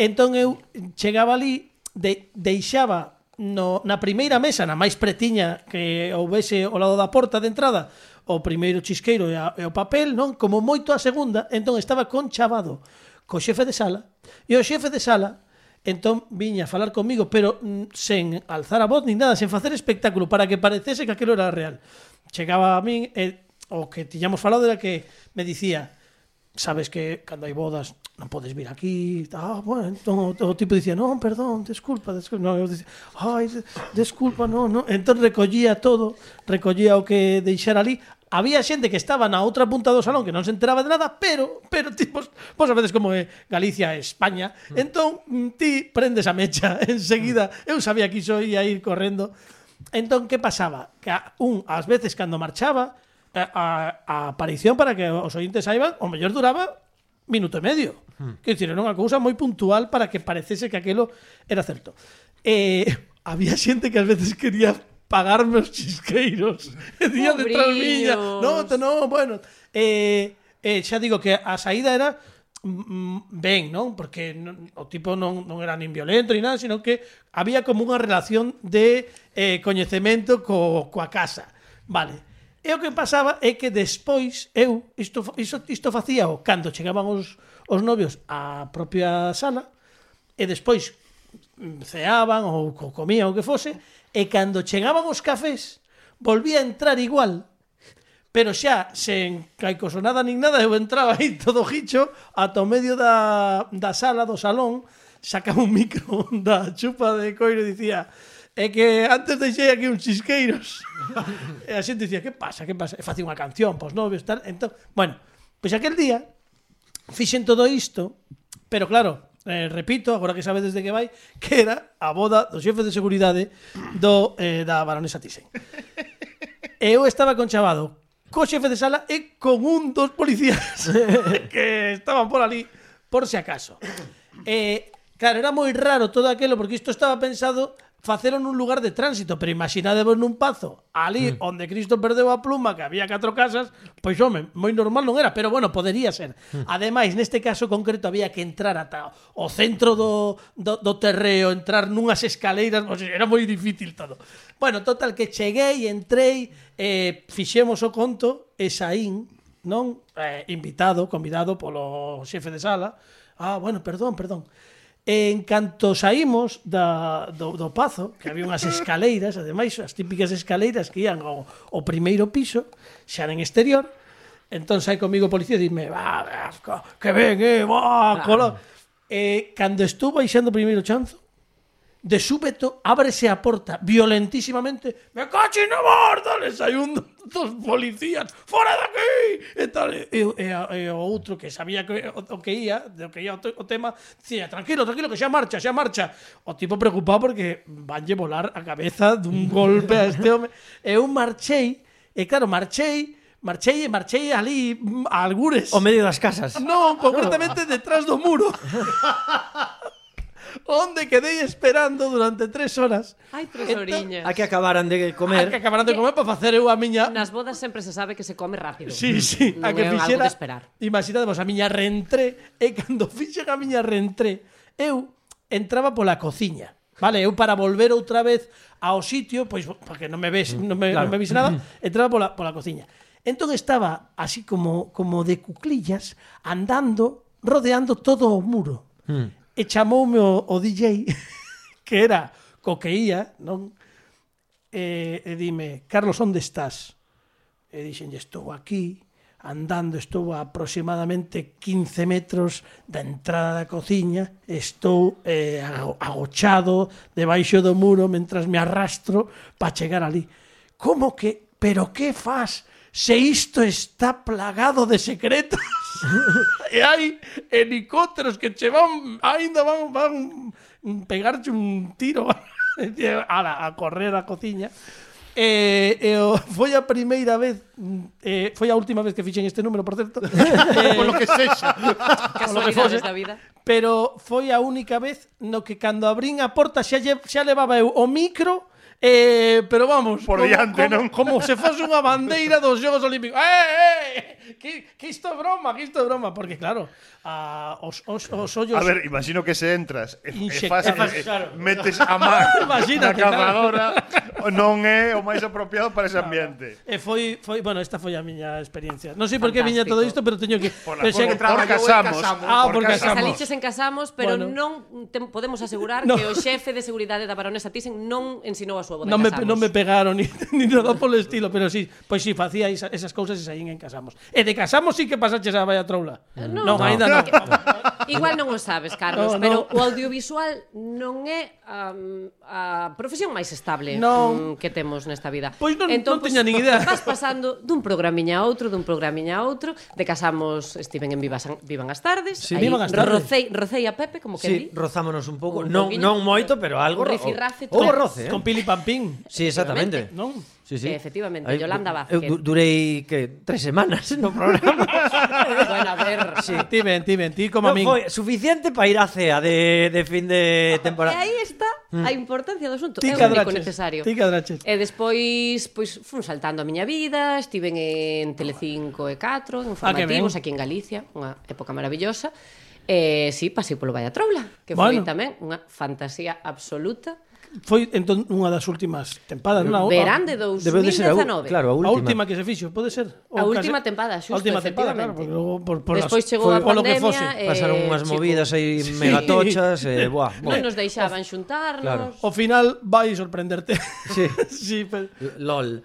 Entón eu chegaba ali, de, deixaba no, na primeira mesa, na máis pretiña que houvese ao lado da porta de entrada, o primeiro chisqueiro e, a, e o papel, non? Como moito a segunda, entón estaba conchavado co xefe de sala, e o xefe de sala Entón viña a falar comigo, pero mm, sen alzar a voz nin nada, sen facer espectáculo, para que parecese que aquilo era real. Chegaba a min e o que tiñamos falado era que me dicía sabes que cando hai bodas non podes vir aquí, ah, bueno, entón o, o tipo dicía, non, perdón, desculpa, desculpa, no, eu dicía, ai, de- desculpa, non, non, entón recollía todo, recollía o que deixara ali, había xente que estaba na outra punta do salón que non se enteraba de nada, pero, pero ti, vos, vos sabedes como é Galicia e España, entón mm, ti prendes a mecha enseguida, eu sabía que iso ia ir correndo, entón que pasaba? Que a- un, ás Eh, veces cando marchaba, a, a, a aparición para que os ointes saiban, o mellor duraba minuto e medio. Que dicir, era unha cousa moi puntual para que parecese que aquilo era certo. Eh, había xente que ás veces quería pagarme os chisqueiros. E día detrás miña. No, te- no, bueno. Eh, eh, xa digo que a saída era mm, ben, non? Porque non, o tipo non, non era nin violento ni nada, sino que había como unha relación de eh, coñecemento co, coa casa. Vale. E o que pasaba é que despois eu isto fa- isto, isto facía o cando chegaban os, os novios á propia sala e despois mm, ceaban ou co- comían o que fose e cando chegaban os cafés volvía a entrar igual pero xa sen caicosonada nin nada eu entraba aí todo gicho ata o medio da, da sala do salón sacaba un micro da chupa de coiro e dicía é que antes deixei aquí uns chisqueiros e a xente dicía que pasa, que pasa e facía unha canción pos novios tal entón, bueno, pois aquel día fixen todo isto, pero claro, eh, repito, agora que sabedes de que vai, que era a boda do xefe de seguridade do, eh, da baronesa Thyssen. E eu estaba conchavado co xefe de sala e con un dos policías que estaban por ali, por si acaso. E, claro, era moi raro todo aquilo, porque isto estaba pensado facelo nun lugar de tránsito, pero imaginadevos nun pazo, ali mm. onde Cristo perdeu a pluma, que había catro casas, pois home, moi normal non era, pero bueno, podería ser. Mm. Ademais, neste caso concreto había que entrar ata o centro do, do, do terreo, entrar nunhas escaleiras, o sea, era moi difícil todo. Bueno, total que cheguei, entrei, eh, fixemos o conto e saín non eh, invitado, convidado polo xefe de sala. Ah, bueno, perdón, perdón. En canto saímos da, do, do pazo, que había unhas escaleiras, ademais as típicas escaleiras que ian ao, ao primeiro piso, xa en exterior, entón sai comigo o policía e dime, va, va, co- que ben, eh, va, colo... Eh, cando estuvo baixando o primeiro chanzo, De súbeto, ábrese a porta violentísimamente. ¡Me cachi na borda! Le sai un do- dos policías. ¡Fora de aquí! E tal. E, e, a- e o outro que sabía que, o, o que ia, de o que ia o, te- o tema, dicía, tranquilo, tranquilo, que xa marcha, xa marcha. O tipo preocupado porque vanlle volar a cabeza dun golpe a este home. E eu marchei, e claro, marchei, marchei e marchei ali mm, a algures. O medio das casas. No, concretamente detrás do muro. Onde quedei esperando durante tres horas. Ai, tres Entón, oriñas. A que acabaran A de que comer. acabaran de comer para facer eu a miña... Nas bodas sempre se sabe que se come rápido. Sí, sí, a Non que é algo de fixera... esperar. Imaginadevos, a miña reentré, e cando fixen a miña reentré, eu entraba pola cociña. Vale, eu para volver outra vez ao sitio, pois porque non me ves, non me, claro. Mm. non me vis nada, entraba pola, pola cociña. Entón estaba así como como de cuclillas, andando, rodeando todo o muro. Mm. E chamoume o, o DJ que era co que ia, non? E, e dime, Carlos, onde estás? E dixenlle, estou aquí, andando, estou a aproximadamente 15 metros da entrada da cociña, estou eh, ago- agochado debaixo do muro mentras me arrastro para chegar ali. Como que, pero que faz se isto está plagado de secretos? e hai helicópteros que che van, ainda van, van pegarche un tiro a, la, a correr a cociña. Eh, eh, foi a primeira vez mm, eh, foi a última vez que fixen este número, por certo eh, Por lo que sexa. Casualidades da vida. pero foi a única vez no que cando abrín a porta xa, lle, xa levaba eu o micro eh, pero vamos Por diante, como, non? como se fose unha bandeira dos Xogos Olímpicos eh, eh, que, que isto é broma que isto é broma, porque claro a, os, os, os ollos A ver, imagino que se entras e, e fas, Inxectar, e- e claro. eh, metes a mar na Imagínate, cavadora non é o máis apropiado para ese ambiente. E eh, foi, foi, bueno, esta foi a miña experiencia. Non sei por que viña todo Fantástico. isto, pero teño que... Por, pensei que- por casamos. Ah, por casamos. Saliches en casamos, pero Bueno. bueno. non te, podemos asegurar No. no. que o xefe de seguridade da baronesa Thyssen non ensinou a súa boda non me, casamos. non me pegaron ni, ni nada polo estilo, pero sí, pois si sí, facía esa, esas cousas e saín en casamos. E de casamos sí que pasaches a vaya troula. Non, non, ainda non. Igual non o sabes, No, no. Carlos, no, pero o audiovisual non é um, a profesión máis estable Non. mm, que temos nesta vida. Entón, Pois non- non teña nin idea. Vas pasando dun programiña a outro, dun programiña a outro, de casamos estiven en Vivas, Vivan as tardes, Sí, aí Vivan as tardes. Rocei, Rocei a Pepe, como que Sí, sí, di. rozámonos un pouco. Un Non, pouquiño. non moito, pero algo. Un rifirrafe, Houbo todo. roce, eh? Con Pili Pampín, Sí, exactamente. non? Sí, Sí, sí. Eh, efectivamente, Aí, Yolanda du- Vázquez. Eu du- durei que tres semanas no programa. bueno, a ver. Sí. Ti ven, ti ven, ti como a non min. foi suficiente para ir á cea de, de fin de E temporada. aí está a importancia do asunto. Ti É o único cadraches. necesario. Ti cadraches. E despois, pois, fun saltando a miña vida, estiven en Telecinco e 4, en Ah, que ben. formativos aquí en Galicia, unha época maravillosa. E si, sí, pasei polo Valle Troula, que foi Bueno. tamén unha fantasía absoluta. Foi entón unha das últimas tempadas, non? A- Verán de oh, Debeu de ser a, ú- 2019. claro, A a última última. que se fixo, pode ser? A última tempada, A xusto, última tempada, claro, efectivamente. porque logo por, por Despois as- chegou a polo que pandemia, fose. eh, Pasaron unhas chico. movidas aí Sí. megatochas e buah, Non buah. nos deixaban xuntarnos. Claro. O final vai sorprenderte. Sí. sí, pero... LOL.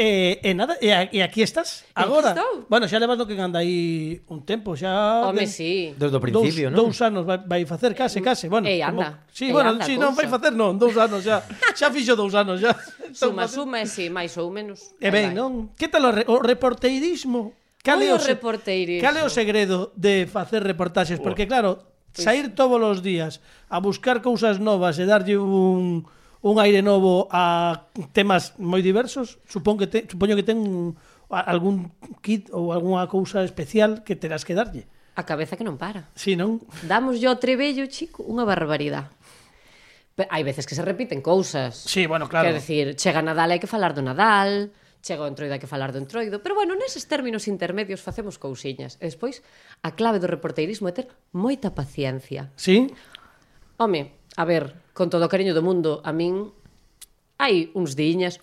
E, e nada, e, a- e aquí estás agora. estou. Bueno, xa levas do que anda aí un tempo, xa Home, de- sí. Desde o principio, dous, non? dous anos vai, vai facer case, case, bueno, Ei, anda, como, Sí, ei, bueno, anda, sí, non cousa. vai facer non, dous anos xa. Xa fixo dous anos xa. Suma, suma, e si, máis ou menos. E ben, non? Que tal o, re, o reporteirismo? Cal é Oi, o se- reporteirismo. Cal é o segredo de facer reportaxes? Porque claro, Pois. sair todos os días a buscar cousas novas e darlle un un aire novo a temas moi diversos, supón que te, supoño que ten un- a- algún kit ou algunha cousa especial que terás que darlle. A cabeza que non para. Si, non? Damos yo ao trebello, chico, unha barbaridade. Pe- Hai veces que se repiten cousas. Sí, bueno, claro. Quer decir, chega Nadal, hai que falar do Nadal, chega o Entroido, hai que falar do Entroido, pero bueno, neses términos intermedios facemos cousiñas. E despois, a clave do reporteirismo é ter moita paciencia. Sí. Home, a ver, con todo o cariño do mundo, a min hai uns diñas.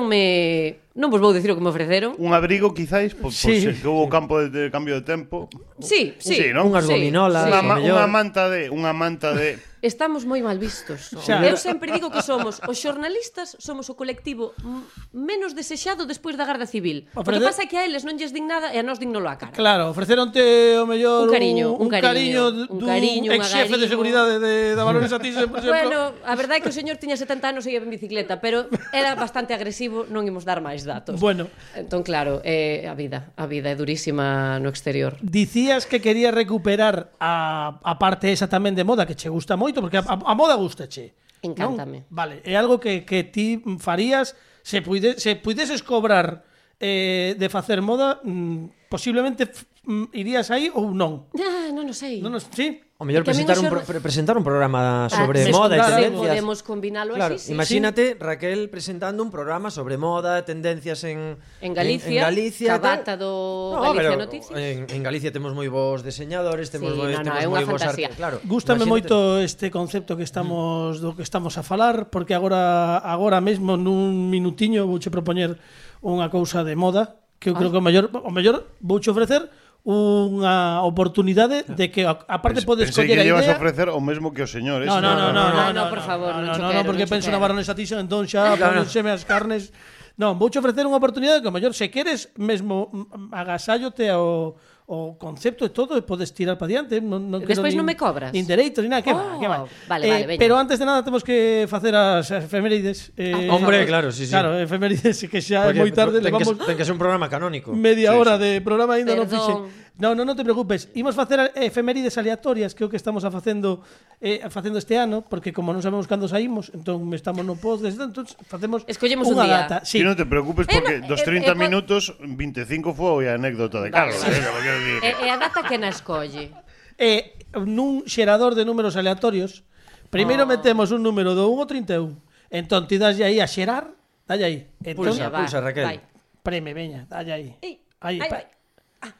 Ofrecéronme, non vos vou dicir o que me ofreceron. Un abrigo, quizáis, por, Sí. por ser que hubo campo de, de cambio de tempo. Sí, sí. Sí, non? Unhas gominolas, Unha, o ma- mellor. unha manta de... Unha manta de... Estamos moi mal vistos. Xa. Eu sempre digo que somos os xornalistas, somos o colectivo m- menos desexado despois da Garda Civil. O que Ofrecer- pasa é que a eles non lles din nada e a nós dignolo a cara. Claro, ofreceronte o mellor Un cariño, un cariño, d- un dun cariño, un ex xefe de agarillo. seguridade de da Valores Atis, por exemplo. Bueno, a verdade é que o señor tiña 70 anos e iba en bicicleta, pero era bastante agresivo, non imos dar máis datos. Bueno. Entón, claro, é a vida, a vida é durísima no exterior. Dicías que querías recuperar a, a parte esa tamén de moda que che gusta moito, porque a, a moda gusta che. Encántame. Vale, é algo que, que ti farías se, puide, se puideses cobrar eh, de facer moda, mm, posiblemente f- mm, irías aí ou non. Ah, non o sei. Non nos, sí? O mellor Que a min presentar o un, xor- pro, pre- presentar un programa Ah, sobre se- moda e claro, se tendencias. podemos combinalo Claro, así, sí. imagínate Raquel presentando un programa sobre moda, tendencias en En Galicia, en, en Galicia e ca tal. bata do Galicia pero eh, Noticias. En, en Galicia temos moi bons diseñadores, temos Sí, moi no, temos no, é moi unha bons fantasía. artes, claro. Gústame Imagínate. moito este concepto que estamos do que estamos a falar porque agora agora mesmo nun minutiño vouche propoñer unha cousa de moda que eu creo que o mellor o mellor vouche ofrecer unha oportunidade de que a- aparte podes Pensei coller que a llevas idea a ofrecer o mesmo que o señor. No, no, no, no, no, Ah, no, por favor, no, non no, cho no, quero, porque non cho penso na quero. baronesa Thyssen, entón xa ponenseme as carnes. Non, vouche ofrecer unha oportunidade que, ao mellor, se queres, mesmo mm, agasállote ao o concepto e todo e podes tirar para diante, non non quero Despois nin- non me cobras. Nin dereitos, nin nada, que va, Oh, que va. vale, Eh, vale, veña. pero antes de nada temos que facer as efemérides. Eh, Ah, Hombre, claro, sí, sí. Claro, efemérides que xa é Porque eh, moi tarde, ten que, levamos ten que ser un programa canónico. media hora de programa ainda non Perdón. fixen. No, no, non te preocupes. Imos facer efemérides aleatorias, que é o que estamos a facendo eh, a facendo este ano, porque como non sabemos cando saímos, entón estamos no post, entón facemos Escollemos un unha día. data. Sí. Sí. non te preocupes Eh, no, porque eh, dos eh, eh, 30 minutos 25 foi a anécdota de Carlos, eh, que me quero dicir. E, e a data que na escolle. Eh, nun xerador de números aleatorios, primeiro Oh. metemos un número do 1 ao 31. Entón ti daslle aí a xerar, dalle aí. Entón, Pulsa, Veña, va, pulsa, Raquel. vai. preme, veña, dalle aí. Ei, Aí, pa- aí vai. Ah,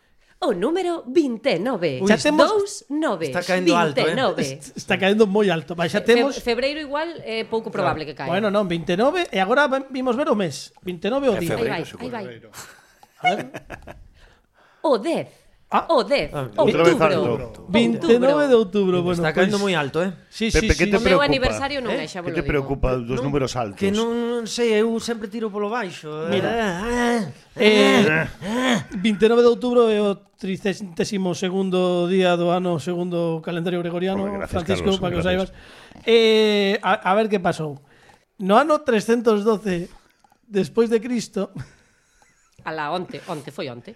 O número 29. Ui, temos- 29. Está caendo alto, eh. 29. Está caendo moi alto. Vai, xa temos Fe- Febreiro igual é pouco probable que caia. Bueno, non, 29 e agora va- vimos ver o mes. 29 o día. É aí febreiro, vai, aí seguro, vai. A ver. O 10. Ah. o 10. Outra vez Outubro. alto. 29 de outubro, bueno. pois. pues, Está caendo moi alto, eh? Sí, sí, sí. Pepe, que O te meu preocupa? aniversario non é, xa vos lo Que te digo. preocupa dos números altos? Que non, non sei, eu sempre tiro polo baixo. Pois. Mira. Eh, eh. Eh, 29 de outubro é o 32º día do ano segundo calendario gregoriano, Hombre, gracias, Francisco, Carlos, para que o gracias. saibas. Eh, a, a ver que pasou. No ano 312 despois de Cristo, A la onte, onte, foi onte.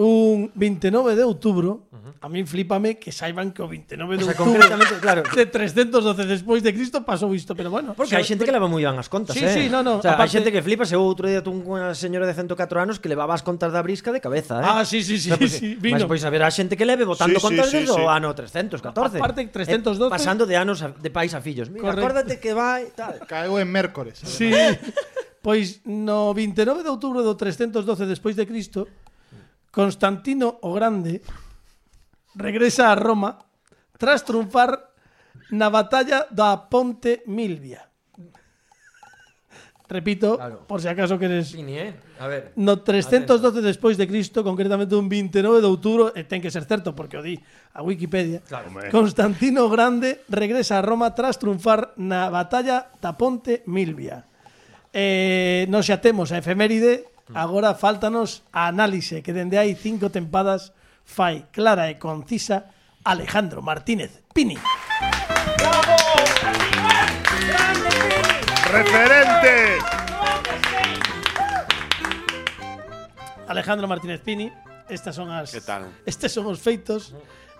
un 29 de outubro, a min flipame que saiban que o 29 de O sea, outubro concretamente, claro. de 312 despois de Cristo pasou isto, pero bueno. Porque hai xente que leva moi ben as contas, Sí, eh? sí, no, no, O sea, aparte- hai xente que flipa, se eu outro día tuve unha señora de 104 anos que levaba as contas da brisca de cabeza, eh? Ah, sí, sí, sí, O sea, porque- sí, Mas vino. pois a ver, a xente que leve votando Sí, sí, contas sí, desde sí. o ano 314. Aparte, Eh, 312. pasando de anos a, de pais a fillos. Mira, Correcto. acuérdate que vai tal. Caeu en mércores. Sí. Sí. Pois no 29 de outubro do 312 despois de Cristo, Constantino o Grande regresa a Roma tras triunfar na batalla da Ponte Milvia. Repito, Claro. por si acaso queres Vini, eh? A ver. No 312 despois de Cristo, concretamente un 29 de outubro, e ten que ser certo porque o di a Wikipedia. Claro. Hombre. Constantino o Grande regresa a Roma tras triunfar na batalla da Ponte Milvia. Eh, non xa temos a efeméride, agora faltanos a análise que dende hai cinco tempadas fai clara e concisa Alejandro Martínez Pini. ¡Referente! Alejandro Martínez Pini. Estas son as Que tal? Estes son os feitos.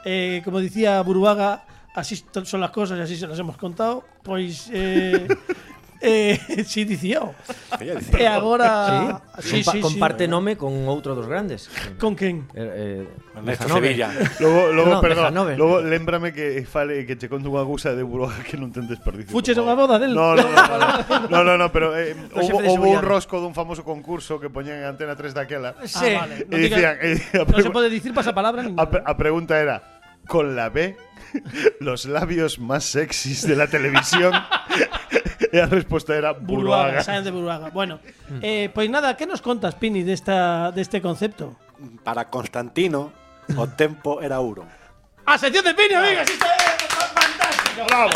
Eh, como dicía Buruaga, así to- son las cosas e así se las hemos contado. Pois eh, eh, si dicía. o. E agora Ah, Sí, Compa comparte nome con outro dos grandes. Con quen? Eh, eh, Ernesto Lejanoven. Sevilla. Logo, logo No, perdón, Bejanove. logo lembrame que fale que che conto unha cousa de Buruaga que non ten desperdicio. Fuches a por unha favor. boda del? No, no, no, no, no, no, no pero eh, xefe houbo, de houbo un seguridade. rosco dun famoso concurso que poñían en Antena 3 daquela. Ah, vale. E No, diga- dicían, eh, a, non se pregu- pode dicir pasapalabra nin a, pre- a pregunta era, con la B, los labios más sexys de la televisión. e a resposta era Buruaga, Buruaga. Sáenz de Buruaga. Bueno, Mm. eh, pois nada, que nos contas, Pini, desta, deste concepto? Para Constantino, o tempo era ouro. A sección de Pini, amigos! Isto é fantástico! Bravo,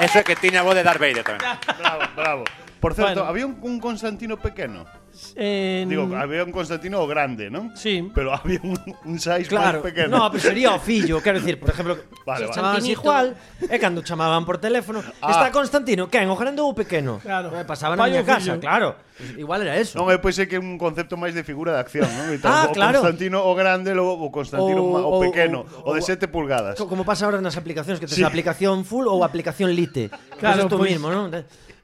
Eso é que tiña voz de Darth Vader tamén. bravo, bravo. Por certo, Bueno. había un, un Constantino pequeno. Eh, Digo, había un Constantino o grande, ¿no? Sí. Pero había un, un size Claro, más pequeno. no, pues- pero sería o fillo, quero dicir, por exemplo, Vale, vale, vale. Ah. se chamaban Santinito. igual, e cando chamaban por teléfono, está Constantino, quen, o grande ou o pequeno? Claro. Eh, pasaba na Pai ou miña casa, fillo. claro. Pues igual era eso. Non, é pois é que é un concepto máis de figura de acción, non? E tal, Ah, o claro. Constantino o grande, logo o Constantino O- o, o o- pequeno, o- o, de o- 7 pulgadas. Co- Como pasa ahora nas aplicacións que tes Sí. a aplicación full ou a aplicación lite. Claro, Claro, pues isto pois- mismo, non?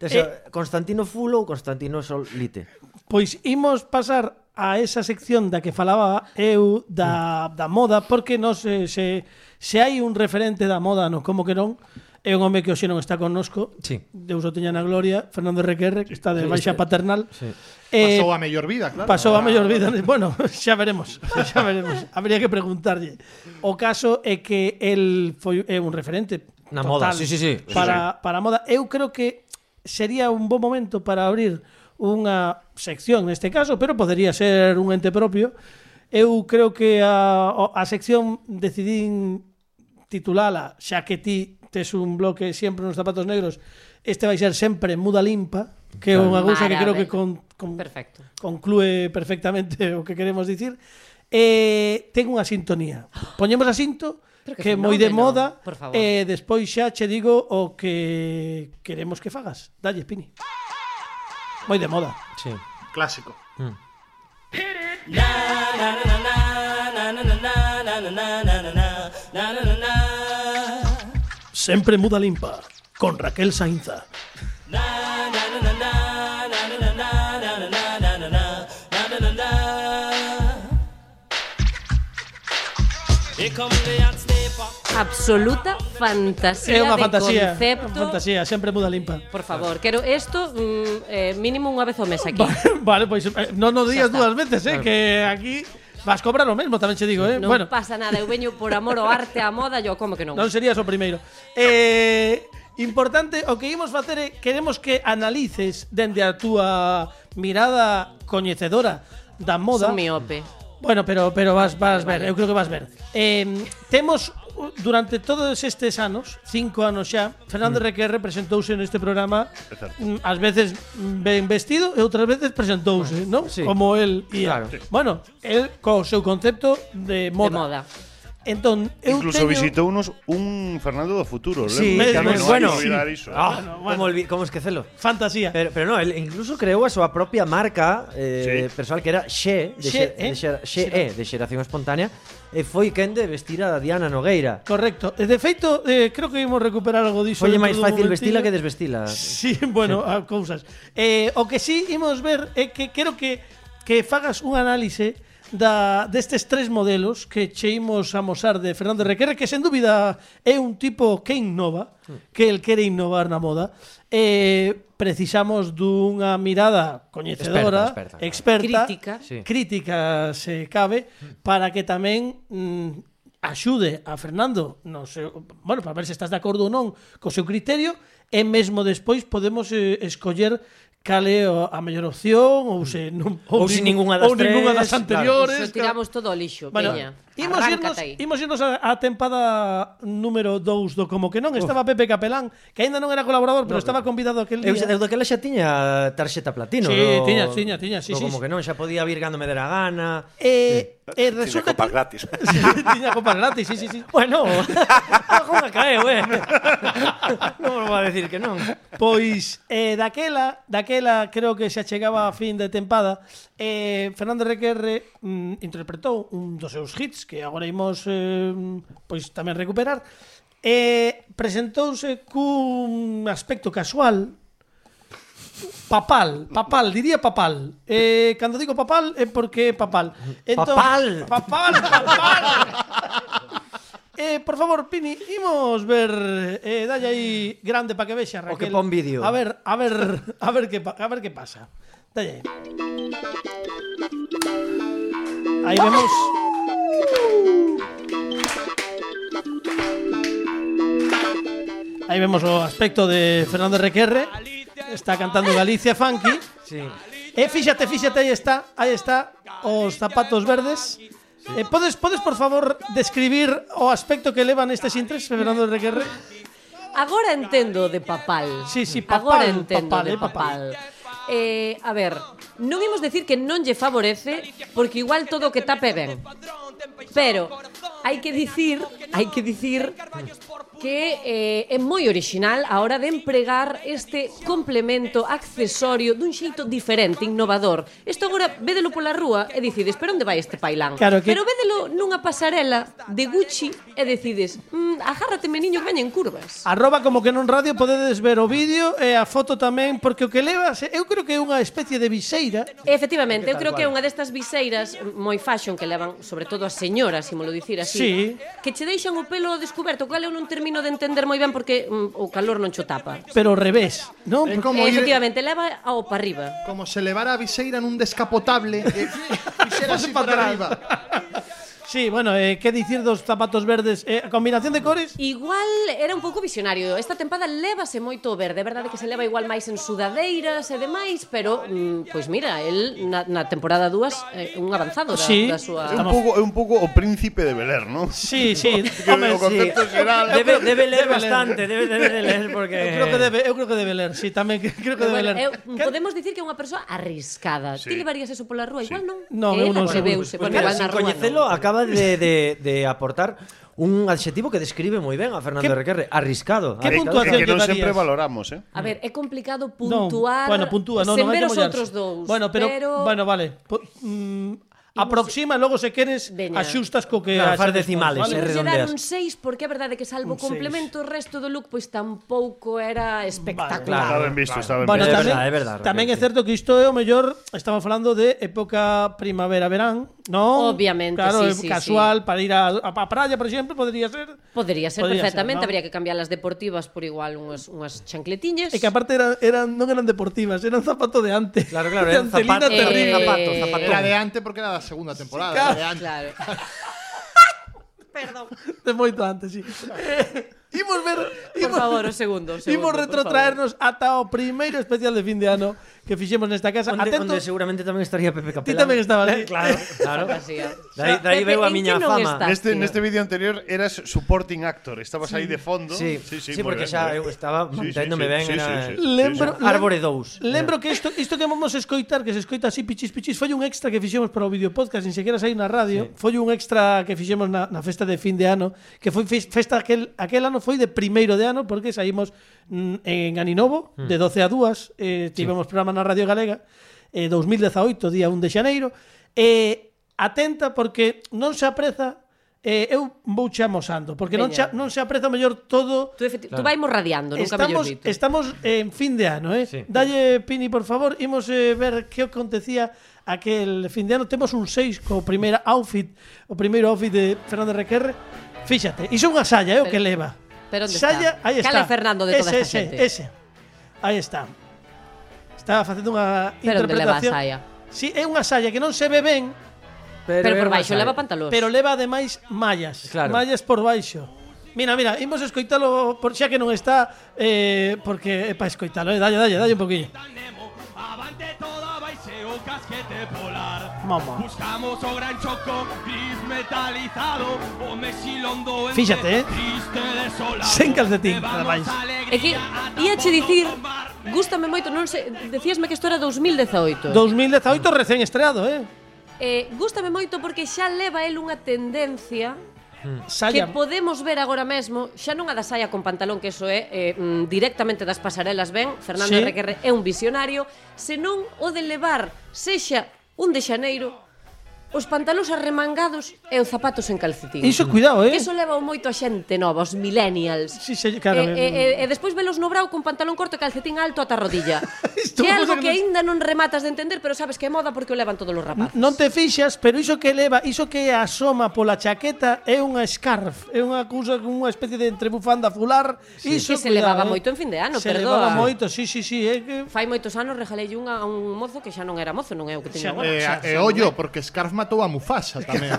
Tes Eh. a Constantino full ou Constantino sol lite. Pois imos pasar a esa sección da que falaba eu Mm. da, da moda porque nos se, se, se hai un referente da moda, non como que non é un home que hoxe non está connosco Sí. Deus o teña na gloria Fernando Requerre que está de Sí, baixa este- paternal sí. eh, Pasou a mellor vida, claro. Pasou a Ahora- mellor vida. Bueno, xa veremos, xa veremos. Habría que preguntarlle. O caso é que el foi é un referente Na total moda, sí, sí, sí. Para para a moda, eu creo que sería un bom momento para abrir unha sección neste caso, pero podería ser un ente propio. Eu creo que a, o- a sección decidín titulala, xa que ti tes un bloque sempre nos zapatos negros, este vai ser sempre muda limpa, que é unha cousa que creo que con, con Perfecto. conclúe perfectamente o que queremos dicir. Eh, ten unha sintonía. Poñemos a cinto Pero que que é moi de fenómeno, moda por favor. e despois xa che digo o que queremos que fagas. Dalle, Pini. Moi de moda. Sí. Clásico. Sempre muda limpa con Raquel Sainza. Absoluta fantasía É unha de fantasía, concepto. unha fantasía, sempre muda limpa. Por favor, quero isto mm, eh, mínimo unha vez ao mes aquí. vale, pois eh, non nos digas Xa está. dúas veces, eh, que aquí vas cobrar o mesmo, tamén che digo, eh. Non bueno, pasa nada, eu veño por amor ao arte, á moda, yo como que non. Non serías o primeiro. Eh, importante, o que imos facer é eh, queremos que analices dende a túa mirada coñecedora da moda. Son miope. Bueno, pero pero vas vas ver, eu creo que vas ver. Eh, temos u- durante todos estes anos, cinco anos xa, Fernando Requerre presentouse neste programa mm, ás veces mm, ben vestido e outras veces presentouse, non? sí. Como el ía. Claro. Bueno, el co seu concepto de De moda. moda. Entón, eu Incluso teño... visitou unos un Fernando do futuro. Sí, lembro, tamén, non hai bueno, que olvidar ¿eh? iso. Ah, como, olvi- como esquecelo. Fantasía. Pero, pero no, el incluso creou a súa propia marca eh, Sí. personal que era Xe, Xe, de, xe, eh? de, xe, xe, e, de xeración espontánea, e foi quen de vestir a Diana Nogueira. Correcto. E, De feito, eh, creo que imos recuperar algo diso. Foi dentro máis dun fácil momentinho. vestila que desvestila. Sí, bueno, a cousas. Eh, o que sí imos ver é que quero que que fagas un análise da destes tres modelos que che imos amosar de Fernando Requera, que sen dúbida é un tipo que innova, que el quere innovar na moda. Eh, precisamos dunha mirada coñecedora, Experta, experta, claro. experta, Crítica. Sí. crítica se cabe, para que tamén mm, axude a Fernando, non sei, bueno, para ver se estás de acordo ou non co seu criterio, e mesmo despois podemos eh, escoller cal é o- a mellor opción ou se non Ou se ningunha das ou ningunha das tres, anteriores. Iso tiramos todo ao lixo, Bueno, peña. imos irnos, Arráncate aí. imos irnos a, a tempada número 2 do Como que non estaba Pepe Capelán, que aínda non era colaborador, pero estaba convidado aquel Eu, día. xa- eu daquela xa tiña tarxeta platino. Sí, do- tiña, tiña, tiña, sí, do sí, como sí. que non, xa podía vir cando me dera gana. Eh, eh, Tiene resulta copas que- gratis. Sí, tiña copas gratis, sí, sí, sí. Bueno, algo me caeu, eh. eh. non vou a decir que non. Pois eh, daquela, daquela creo que se achegaba a fin de tempada eh, Fernando Requerre mm, interpretou un dos seus hits que agora imos eh, pois tamén recuperar eh, presentouse cun aspecto casual papal, papal, diría papal. Eh, cando digo papal é porque é papal. Entón, Papal. Papal, papal. Eh, por favor, Pini, imos ver eh, dalle aí grande para que vexa Raquel. O que pon vídeo. A ver, a ver, a ver que pa- a ver que pasa. Dalle aí. Aí vemos Aí vemos o aspecto de Fernando Requerre. Está cantando Galicia Funky. Sí. E Eh, fíxate, fíxate, aí está, aí está os zapatos verdes. Eh, podes, podes, por favor, describir o aspecto que levan estes intres, Fernando Requerre? Agora entendo de papal. Sí, sí, papal, Agora entendo papal, de eh, papal. papal. Eh, a ver, non imos decir que non lle favorece, porque igual todo o que tape ben. Pero hai que dicir, hai que dicir que eh, é moi orixinal a hora de empregar este complemento accesorio dun xeito diferente, innovador. Isto agora védelo pola rúa e decides, pero onde vai este pailán? Claro que- Pero védelo nunha pasarela de Gucci e decides, mm, agárrate meniño que veñen curvas. Arroba como que non radio podedes ver o vídeo e a foto tamén, porque o que levas, eh, eu creo que é unha especie de viseira. Efectivamente, eu creo que é unha destas viseiras moi fashion que levan, sobre todo as señoras, se mo lo dicir así, Sí. que che deixan o pelo descoberto, cual eu non termino de entender moi ben porque mm, o calor non cho tapa. Pero ao revés, non? Eh, É como Como ir, efectivamente, leva ao para arriba. como se levara a viseira nun descapotable e fixera así para arriba. Sí, bueno, eh, que dicir dos zapatos verdes? Eh, a combinación de cores? Igual era un pouco visionario. Esta tempada lévase moito o verde, é verdade que se leva igual máis en sudadeiras e demais, pero mm, pois mira, el na, na temporada 2 eh, un avanzado da, Sí. da súa É un pouco é un pouco o príncipe de Beler, non? Sí, sí. o concepto xeral. Debe, debe Debe ler ler. bastante, debe, debe de ler porque Eu creo que debe, eu creo que debe ler, sí, tamén que- creo que Pero debe bueno, ler. eu, Que- podemos dicir que é unha persoa arriscada. Sí. Ti levarías eso pola rúa? Igual non. Non, eu non, se seguro. veuse, Pois bueno, mira, igual sin na rúa coñecelo non. acaba de, de, de aportar un adxetivo que describe moi ben a Fernando Que- Requerre, arriscado. que arriscado. puntuación? que non lle sempre darías? valoramos, eh? A ver, é complicado Non, puntuar bueno, puntúa, no, sen non hai ver que os mollarse. outros dous. Bueno, pero, bueno, vale. Po, mm, aproxima, logo se queres Veña. axustas co que Claro, far haxades decimales, vós, eh, Vale, dar redondeas. un 6 porque é verdade que Un salvo o complemento o resto do look pois tampouco era Ah, espectacular. claro. Está ben visto, está ben Bueno, É visto. tamén, verdad, é verdad, tamén é realmente. certo que isto é o mellor Estamos falando de época primavera-verán non? Obviamente, claro, sí, sí, casual Para ir a, a, a praia, por exemplo, podría ser Podería ser Podría perfectamente, ser, non? habría que cambiar as deportivas por igual unhas, unhas chancletiñas. E que aparte eran, eran, non eran deportivas Eran zapato de antes Claro, claro, De eran antelina zapatos, terrible eh, zapatos, zapatos. Era de antes porque era da segunda temporada. era de antes. Claro. De moito antes, sí. Imos ver, Por favor, o segundo, o segundo, imos por retrotraernos ata o primeiro especial de fin de ano que fixemos nesta casa. Onde, Atento, onde seguramente tamén estaría ti Pepe Capelán. Eh, tamén estabas. ti. Claro, claro. Fantasía. Dai, dai Pepe, veo a en miña que non fama. estás, Neste, tío? neste Este, vídeo anterior eras supporting actor, estabas aí de fondo. Sí, sí, sí, sí moi porque ben, xa moi eu ben. estaba Sí, sí, mantendo-me sí, ben. sí, era... sí, sí. Lembro, Sí, sí. Árbore lem- dous. Lembro que isto, isto que vamos escoitar, que se escoita así pichis pichis, foi un extra que fixemos para o videopodcast, sin sequera sair na radio, sí. foi un extra que fixemos na, na festa de fin de ano, que foi fes- festa aquel, aquel ano foi de primeiro de ano, porque saímos mm, en Aninovo, de 12 a 2, eh, tivemos programa na Radio Galega, eh, 2018, día 1 de xaneiro, e eh, atenta porque non se apreza Eh, eu vou che amosando, porque non, Veña. cha, non se apreza mellor todo Tú, efecti- tú vaimos radiando, nunca estamos, mellor dito. estamos en fin de ano, eh? Sí. Dalle, Pini, por favor, imos eh, ver que acontecía aquel fin de ano. Temos un 6 co primeira outfit, o primeiro outfit de Fernando Requerre. Fíxate, iso é unha saya, é o Pero- que leva. pero onde saya, está? aí está. Cal é Fernando de toda ese, esta ese, xente? Ese, Aí está. Está facendo unha Pero onde leva a interpretación. saia? Sí, é unha saya que non se ve ben, Pero por era baixo unha leva saia. pantalóns. pero leva ademais mallas, Claro. mallas por baixo. Mira, mira, imos escoitalo por xa que non está eh, porque é para escoitalo, eh? dalle, dalle, dalle un poquillo. Avante toda baiseo casquete polar. Mamá. Buscamos o gran choco gris metalizado o mesilondo en Fíxate, eh. triste desolado. Sen calcetín, Llevamos ademais. alegría É que a ia che todo dicir, tomar. gústame moito, non sei, decíasme que isto era 2018. 2018 recén estreado, eh? Eh, gústame moito porque xa leva el unha tendencia que Saya. podemos ver agora mesmo, xa non a da saia con pantalón, que eso é eh, mm, directamente das pasarelas ben, Fernando Sí. sí. Requerre é un visionario, senón o de levar sexa un de xaneiro, os pantalóns arremangados e os zapatos en calcetín. Iso cuidado, eh? Que Eso leva moito a xente nova, os millennials. Sí, sí, claro, e, ben- e, e, e despois velos no brau con pantalón corto e calcetín alto ata a rodilla. Isto que é é unha cosa algo que que non- aínda non rematas de entender, pero sabes que é moda porque o levan todos os rapaces. Non te fixas, pero iso que leva, iso que asoma pola chaqueta é unha scarf, é unha cousa con unha especie de entrebufanda fular, sí. iso Que se cuidado, levaba eh? moito en fin de ano, se perdoa. levaba moito, sí, sí, sí, é que Fai moitos anos regalei unha a un mozo que xa non era mozo, non é o que Xa eh, teño non. agora. E, Xa- e xa non ollo, é. porque Scarf matou a Mufasa tamén.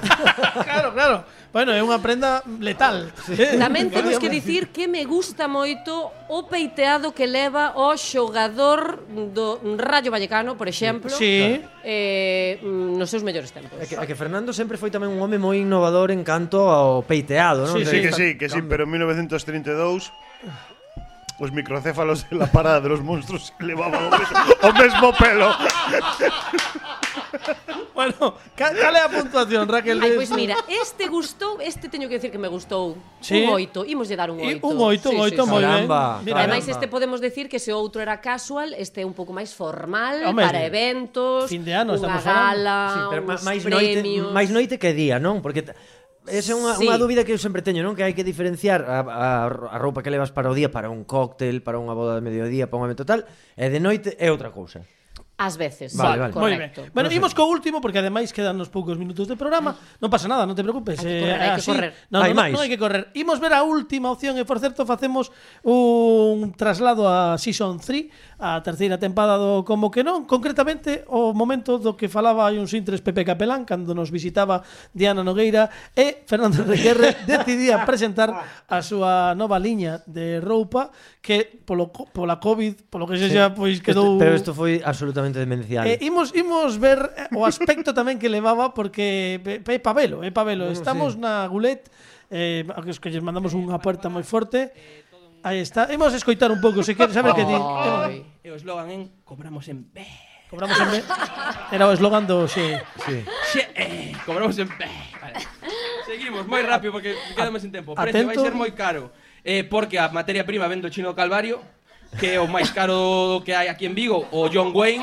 claro, claro. Bueno, é unha prenda letal. Eh, Tamén temos que dicir que me gusta moito o peiteado que leva o xogador do Rayo Vallecano, por exemplo, Sí. eh, mm, nos seus mellores tempos. É que, é que Fernando sempre foi tamén un home moi innovador en canto ao peiteado, non? Sí, Sí, que Esta- sí, que sí, pero en 1932 os microcéfalos en la parada de los monstruos levaban o mesmo, o mesmo pelo. Bueno, ca- cal é a puntuación, Raquel? de- Ai, pois mira, este gustou, este teño que decir que me gustou. Sí. Un oito, imos lle dar un I- oito. Un oito, un oito, moi ben. Caramba, Mira, Ademais, Caramba. este podemos decir que se o outro era casual, este é un pouco máis formal Home, para eventos, fin de ano, unha estamos falando. gala, Sí, pero ma- uns máis noite, premios... máis noite que día, non? Porque t- esa é unha, sí. Sí. unha dúbida que eu sempre teño, non? Que hai que diferenciar a, a, a roupa que levas para o día, para un cóctel, para unha boda de mediodía, para un evento tal, e de noite é outra cousa. Ás veces, Vale, vale. sí, Moi ben. correcto. Bueno, imos co último porque ademais quedan nos poucos minutos de programa. Non pasa nada, non te preocupes. Hai que correr, eh, hai que correr. Non, Hai non, máis. non hai que correr. Imos ver a última opción e por certo facemos un traslado a Season 3, a terceira tempada do Como que non, concretamente o momento do que falaba hai uns intres Pepe Capelán cando nos visitaba Diana Nogueira e Fernando Requerre decidía presentar a súa nova liña de roupa que polo co- pola Covid, polo que sexa, pois quedou Este, pero isto foi absolutamente demencial. Eh, imos, imos ver eh, o aspecto tamén que levaba porque pe- pe- é pabelo, é pabelo. Estamos na Gulet, eh, a que os que lles mandamos unha aperta moi forte. Aí está. Imos escoitar un pouco, se queres saber que ti. Ai. E o eslogan en cobramos en B. Cobramos en vez. Era o eslogan do xe. Xe- eh, cobramos en B. Vale. Seguimos moi rápido porque quedame sen tempo. O Precio vai Atento. ser moi caro. Eh, porque a materia prima vendo chino do Calvario, que é o máis caro do que hai aquí en Vigo, o John Wayne.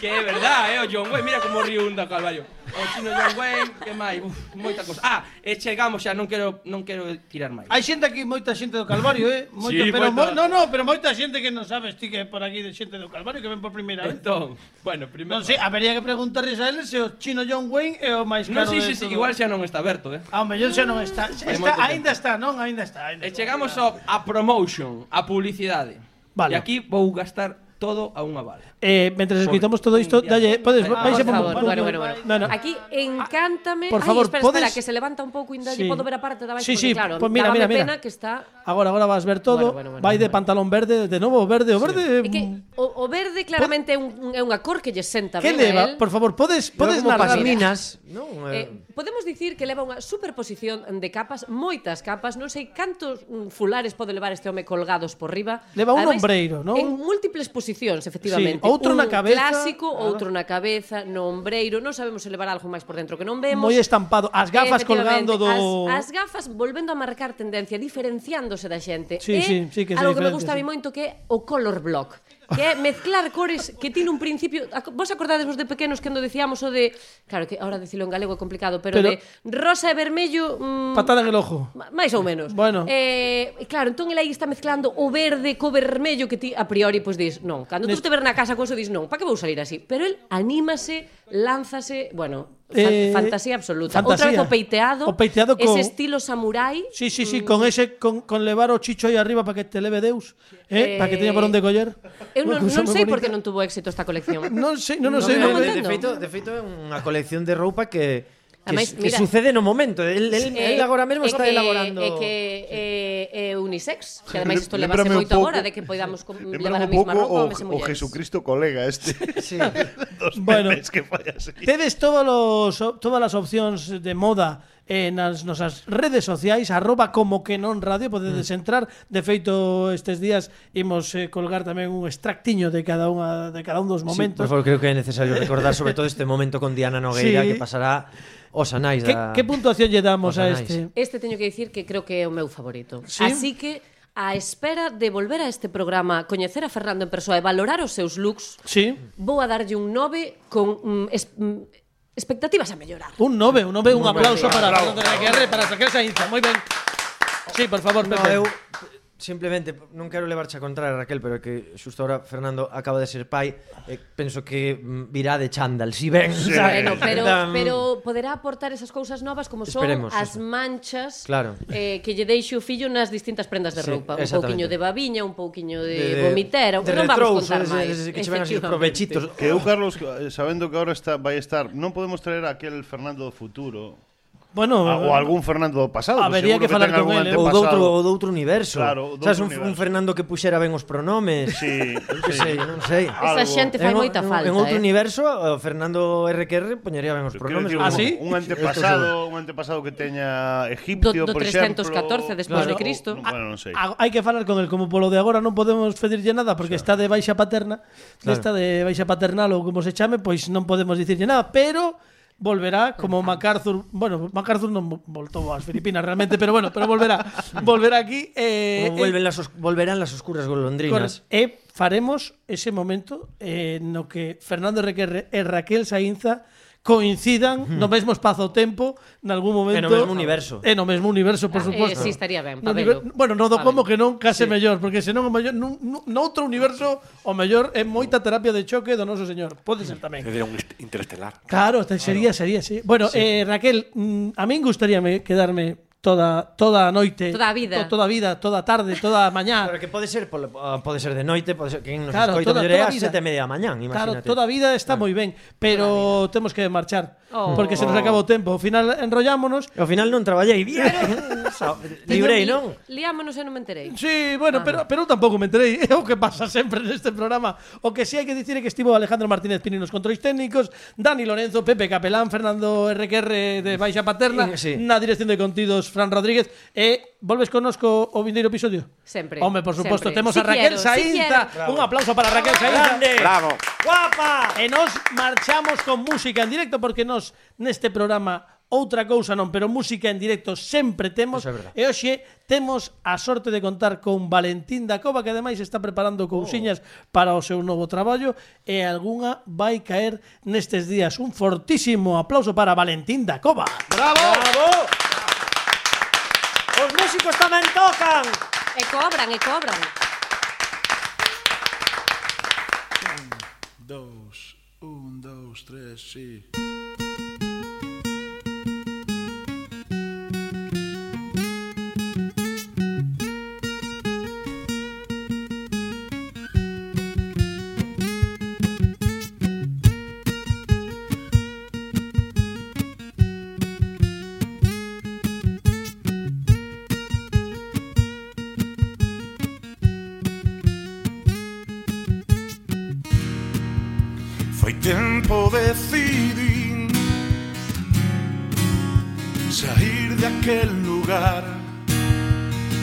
Que é verdad, eh, o John Wayne, mira como río un do Calvario. O chino John Wayne, que máis, uf, moita cosa. Ah, e chegamos xa, non quero non quero tirar máis. Hai xente aquí, moita xente do Calvario, eh? Moita, Sí, pero Mo, moita. no, no, pero moita xente que non sabes ti que é por aquí de xente do Calvario que ven por primeira vez. Entón, bueno, primeiro Non sei, habería que preguntarles a eles se o chino John Wayne é o máis Non, caro. sí, de sí, sí, todo. igual xa non está aberto, eh. Ah, o mellor xa non está. moito está tempo. ainda está, non? Ainda está. Ainda E está. chegamos ao, a promotion, a publicidade. Vale. E aquí vou gastar todo a unha bala. Eh, mientras escuchamos todo esto, Mundial. dalle, podes, Vale, vais a por poner- favor, bueno, bueno, bueno. No, no. Aquí encántame. por favor, Ay, espera, espera, podes- que se levanta un pouco inda, Sí. sí. podo ver a parte da baixo, Sí, porque, sí, claro, pois mira, dábame mira, mira. pena que está Agora, agora vas ver todo. Bueno, bueno, bueno, vai de bueno. pantalón verde, de novo verde, o verde. É que o, o verde claramente é un, un- é unha cor que lle senta que ben a leva? él. Por favor, podes podes como narrar. para minas, non? Eh, podemos dicir que leva unha superposición de capas, moitas capas, non sei cantos mm, fulares pode levar este home colgados por riba. Leva un ombreiro, non? En múltiples posicións, efectivamente. Sí, outro un na cabeza, clásico, claro. outro na cabeza, no ombreiro, non sabemos se levará algo máis por dentro que non vemos. Moi estampado, as gafas Efectivamente, colgando do As, as gafas volvendo a marcar tendencia, diferenciándose da xente. Sí, é sí, sí que se algo que me diferencia, gusta a sí. mí moito que é o color block. Que é mezclar cores que tiene un principio... Ac- Vos acordades vos de pequenos cando decíamos o de... Claro que ahora dicilo en galego é complicado, pero, Pero- de rosa e vermello... mm, patada en el ojo. ma- máis ou menos. Bueno. Eh, claro, entón el aí está mezclando o verde co vermello que ti a priori pois dis, non, cando Nes- tú te ver na casa con eso dis, non, pa que vou salir así? Pero el anímase, lánzase, bueno, fan- Eh, fantasía absoluta. fantasía. Outra vez o peiteado, O peiteado co- ese estilo samurái. Sí, sí, sí, Mm. con ese con, con levar o chicho aí arriba para que te leve Deus, eh, Eh, para que teña por onde coller. Eu non, Unha cousa non moi sei bonita. por que non tuvo éxito esta colección. Non sei, non, non Non sei, me- non me- me- de, feito, de feito é unha colección de roupa que que, Ademais, su- que mira- sucede no momento. El, el, el Eh, agora mesmo é está que- elaborando. É que é, é unisex, que ademais isto levase Lémbrame un moito agora, pouco- de que podamos com- levar Lembra a un mesma pouco roupa o, homes e o mulleres. Jesucristo colega este. Sí. Dos Bueno. memes que falla así. Tedes todos los, o- todas as opcións de moda eh, nas nosas redes sociais arroba como que non radio Mm. podedes entrar de feito estes días imos eh, colgar tamén un extractiño de cada unha de cada un dos Sí, momentos por favor, creo que é necesario recordar sobre todo este momento con Diana Nogueira Sí. que pasará os anais que, da... que puntuación lle damos Os a anais. este Este teño que dicir que creo que é o meu favorito. Sí? ¿Sí? Así que a espera de volver a este programa, coñecer a Fernando en persoa e valorar os seus looks, sí vou a darlle un 9 con mm, es, mm, expectativas a mellorar. un nove un nove un aplauso nove. para Fernando Requerre para sacar esa inza moi ben sí por favor No, Pepe eu simplemente non quero levarche a contraria Raquel, pero é que xusto agora Fernando acaba de ser pai e penso que mm, virá de chándal, si ben. Sí. Bueno, pero, pero poderá aportar esas cousas novas como son Esperemos, as eso. manchas Claro. eh, que lle deixe o fillo nas distintas prendas Sí, de roupa. Un exactamente. pouquiño de babiña, un pouquiño de, de vomitera. non vamos retrouso, contar ese- máis. ese que che ven así os Efectivamente. provechitos. Que eu, Carlos, eh, sabendo que ahora está, vai estar, non podemos traer aquel Fernando do futuro, bueno a- Ah, o algún Fernando do pasado, pues Habería seguro que falar ten con él, algún eh. Ou antepasado. do outro, ou do outro universo. Claro, do Sabes, outro un, un universo. Fernando que puxera ben os pronomes. Sí, Ah, Eu que sei, non sei. Esa Algo. xente fai En o- moita en- falta, En outro eh. universo, o Fernando RQR poñería ben os Quiero pronomes. decir, ¿Ah, un- sí? Un antepasado, un antepasado que teña Egipto, do, do por 314 exemplo. despois de Claro. Cristo. No, bueno, non sei. A- Hai que falar con el como polo de agora non podemos pedirlle nada porque está de baixa paterna, Claro. está de baixa paternal ou como se chame, pois non podemos dicirlle nada, pero volverá como MacArthur, bueno, MacArthur non vo- voltou ás Filipinas realmente, pero bueno, pero volverá, volverá aquí eh, Como vuelven las os- volverán las oscuras eh, cor- golondrinas. e faremos ese momento eh, no que Fernando Requerre e Raquel Sainza coincidan no mesmo espazo-tempo nalgún momento E no mesmo universo. E no mesmo universo, por Ah, suposto. eh, sí, estaría ben, No pa nivel- velo. bueno, no do Pa como velo. que non case sí. mellor, porque senón o mellor nun, nun, noutro universo o mellor é moita terapia de choque do noso señor. Pode ser tamén. Es decir, un est- interestelar. Claro, te- sería, sería, sí. Bueno, eh, Raquel, mm, a min gustaríame quedarme toda toda a noite, Toda a vida. to- toda a vida, toda a tarde, toda a mañá. Claro, que pode ser pola- ah, pode ser de noite, pode ser que nos Claro, escoita toda- mellor é toda ás vida. sete e media da mañán, Claro, imagínate. toda a vida está moi ben, pero temos que marchar Oh. porque se nos acaba o tempo. Ao final enrollámonos. E ao final non traballei bien. Sa- Librei, non? Liámonos e non me enterei. Sí, bueno, pero, pero eu tampouco me enterei É o que pasa sempre neste programa O que sí hai que dicir é que estivo Alejandro Martínez Pini nos controis técnicos Dani Lorenzo, Pepe Capelán, Fernando RQR de Baixa Paterna Sí. Na dirección de contidos, Fran Rodríguez E volves conosco o vindeiro episodio? Sempre, Home, por suposto, sempre. temos Si a Raquel quiero, si Sainza quiero. Un aplauso para Raquel Sainza Bravo. guapa. E nos marchamos con música en directo porque nos neste programa outra cousa non, pero música en directo sempre temos. Eso é verdade. E hoxe temos a sorte de contar con Valentín da Cova que ademais está preparando cousiñas Oh. para o seu novo traballo e algunha vai caer nestes días. Un fortísimo aplauso para Valentín da Cova. Bravo. Os músicos tamén tocan. E cobran, e cobran. Dos, un, dos, tres, sí. tiempo decidí sair de aquel lugar,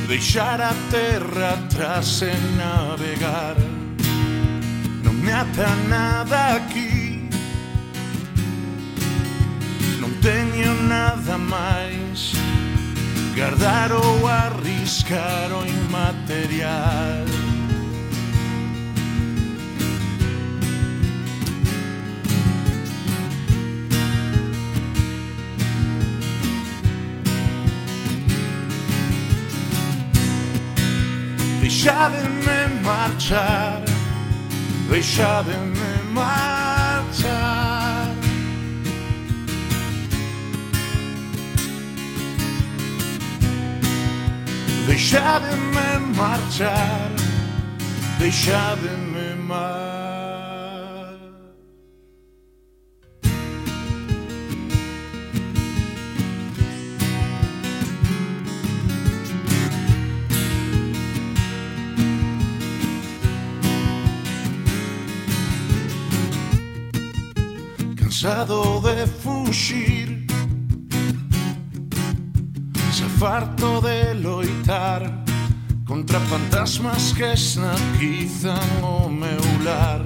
deixar a terra atrás e navegar. Non me ata nada aquí, non teño nada máis, guardar ou arriscar o inmaterial. Deixademe marchar, deixademe marchar. Deixademe marchar, deixademe marchar. cansado de fuxir Xa farto de loitar Contra fantasmas que esnaquizan o meu lar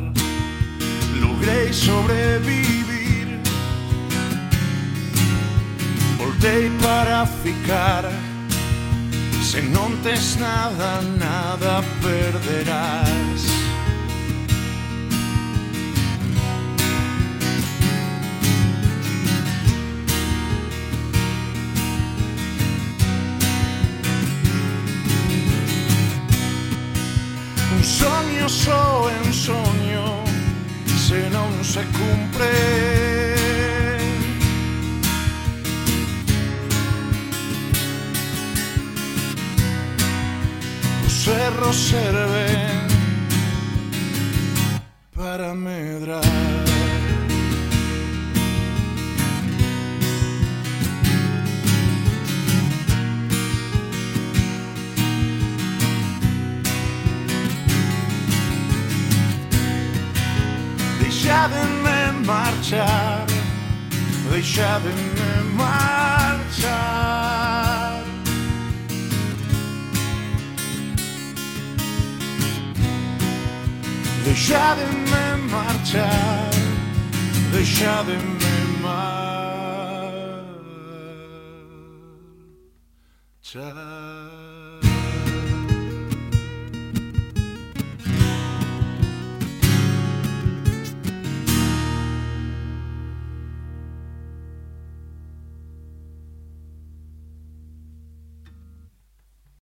Logrei sobrevivir Voltei para ficar Se non tes nada, nada perderás Un sogno só è un sogno se non si cumpre. Os erros serven para medrar. Deixademe marchar, deixademe marchar. Deixademe marchar, deixademe marchar.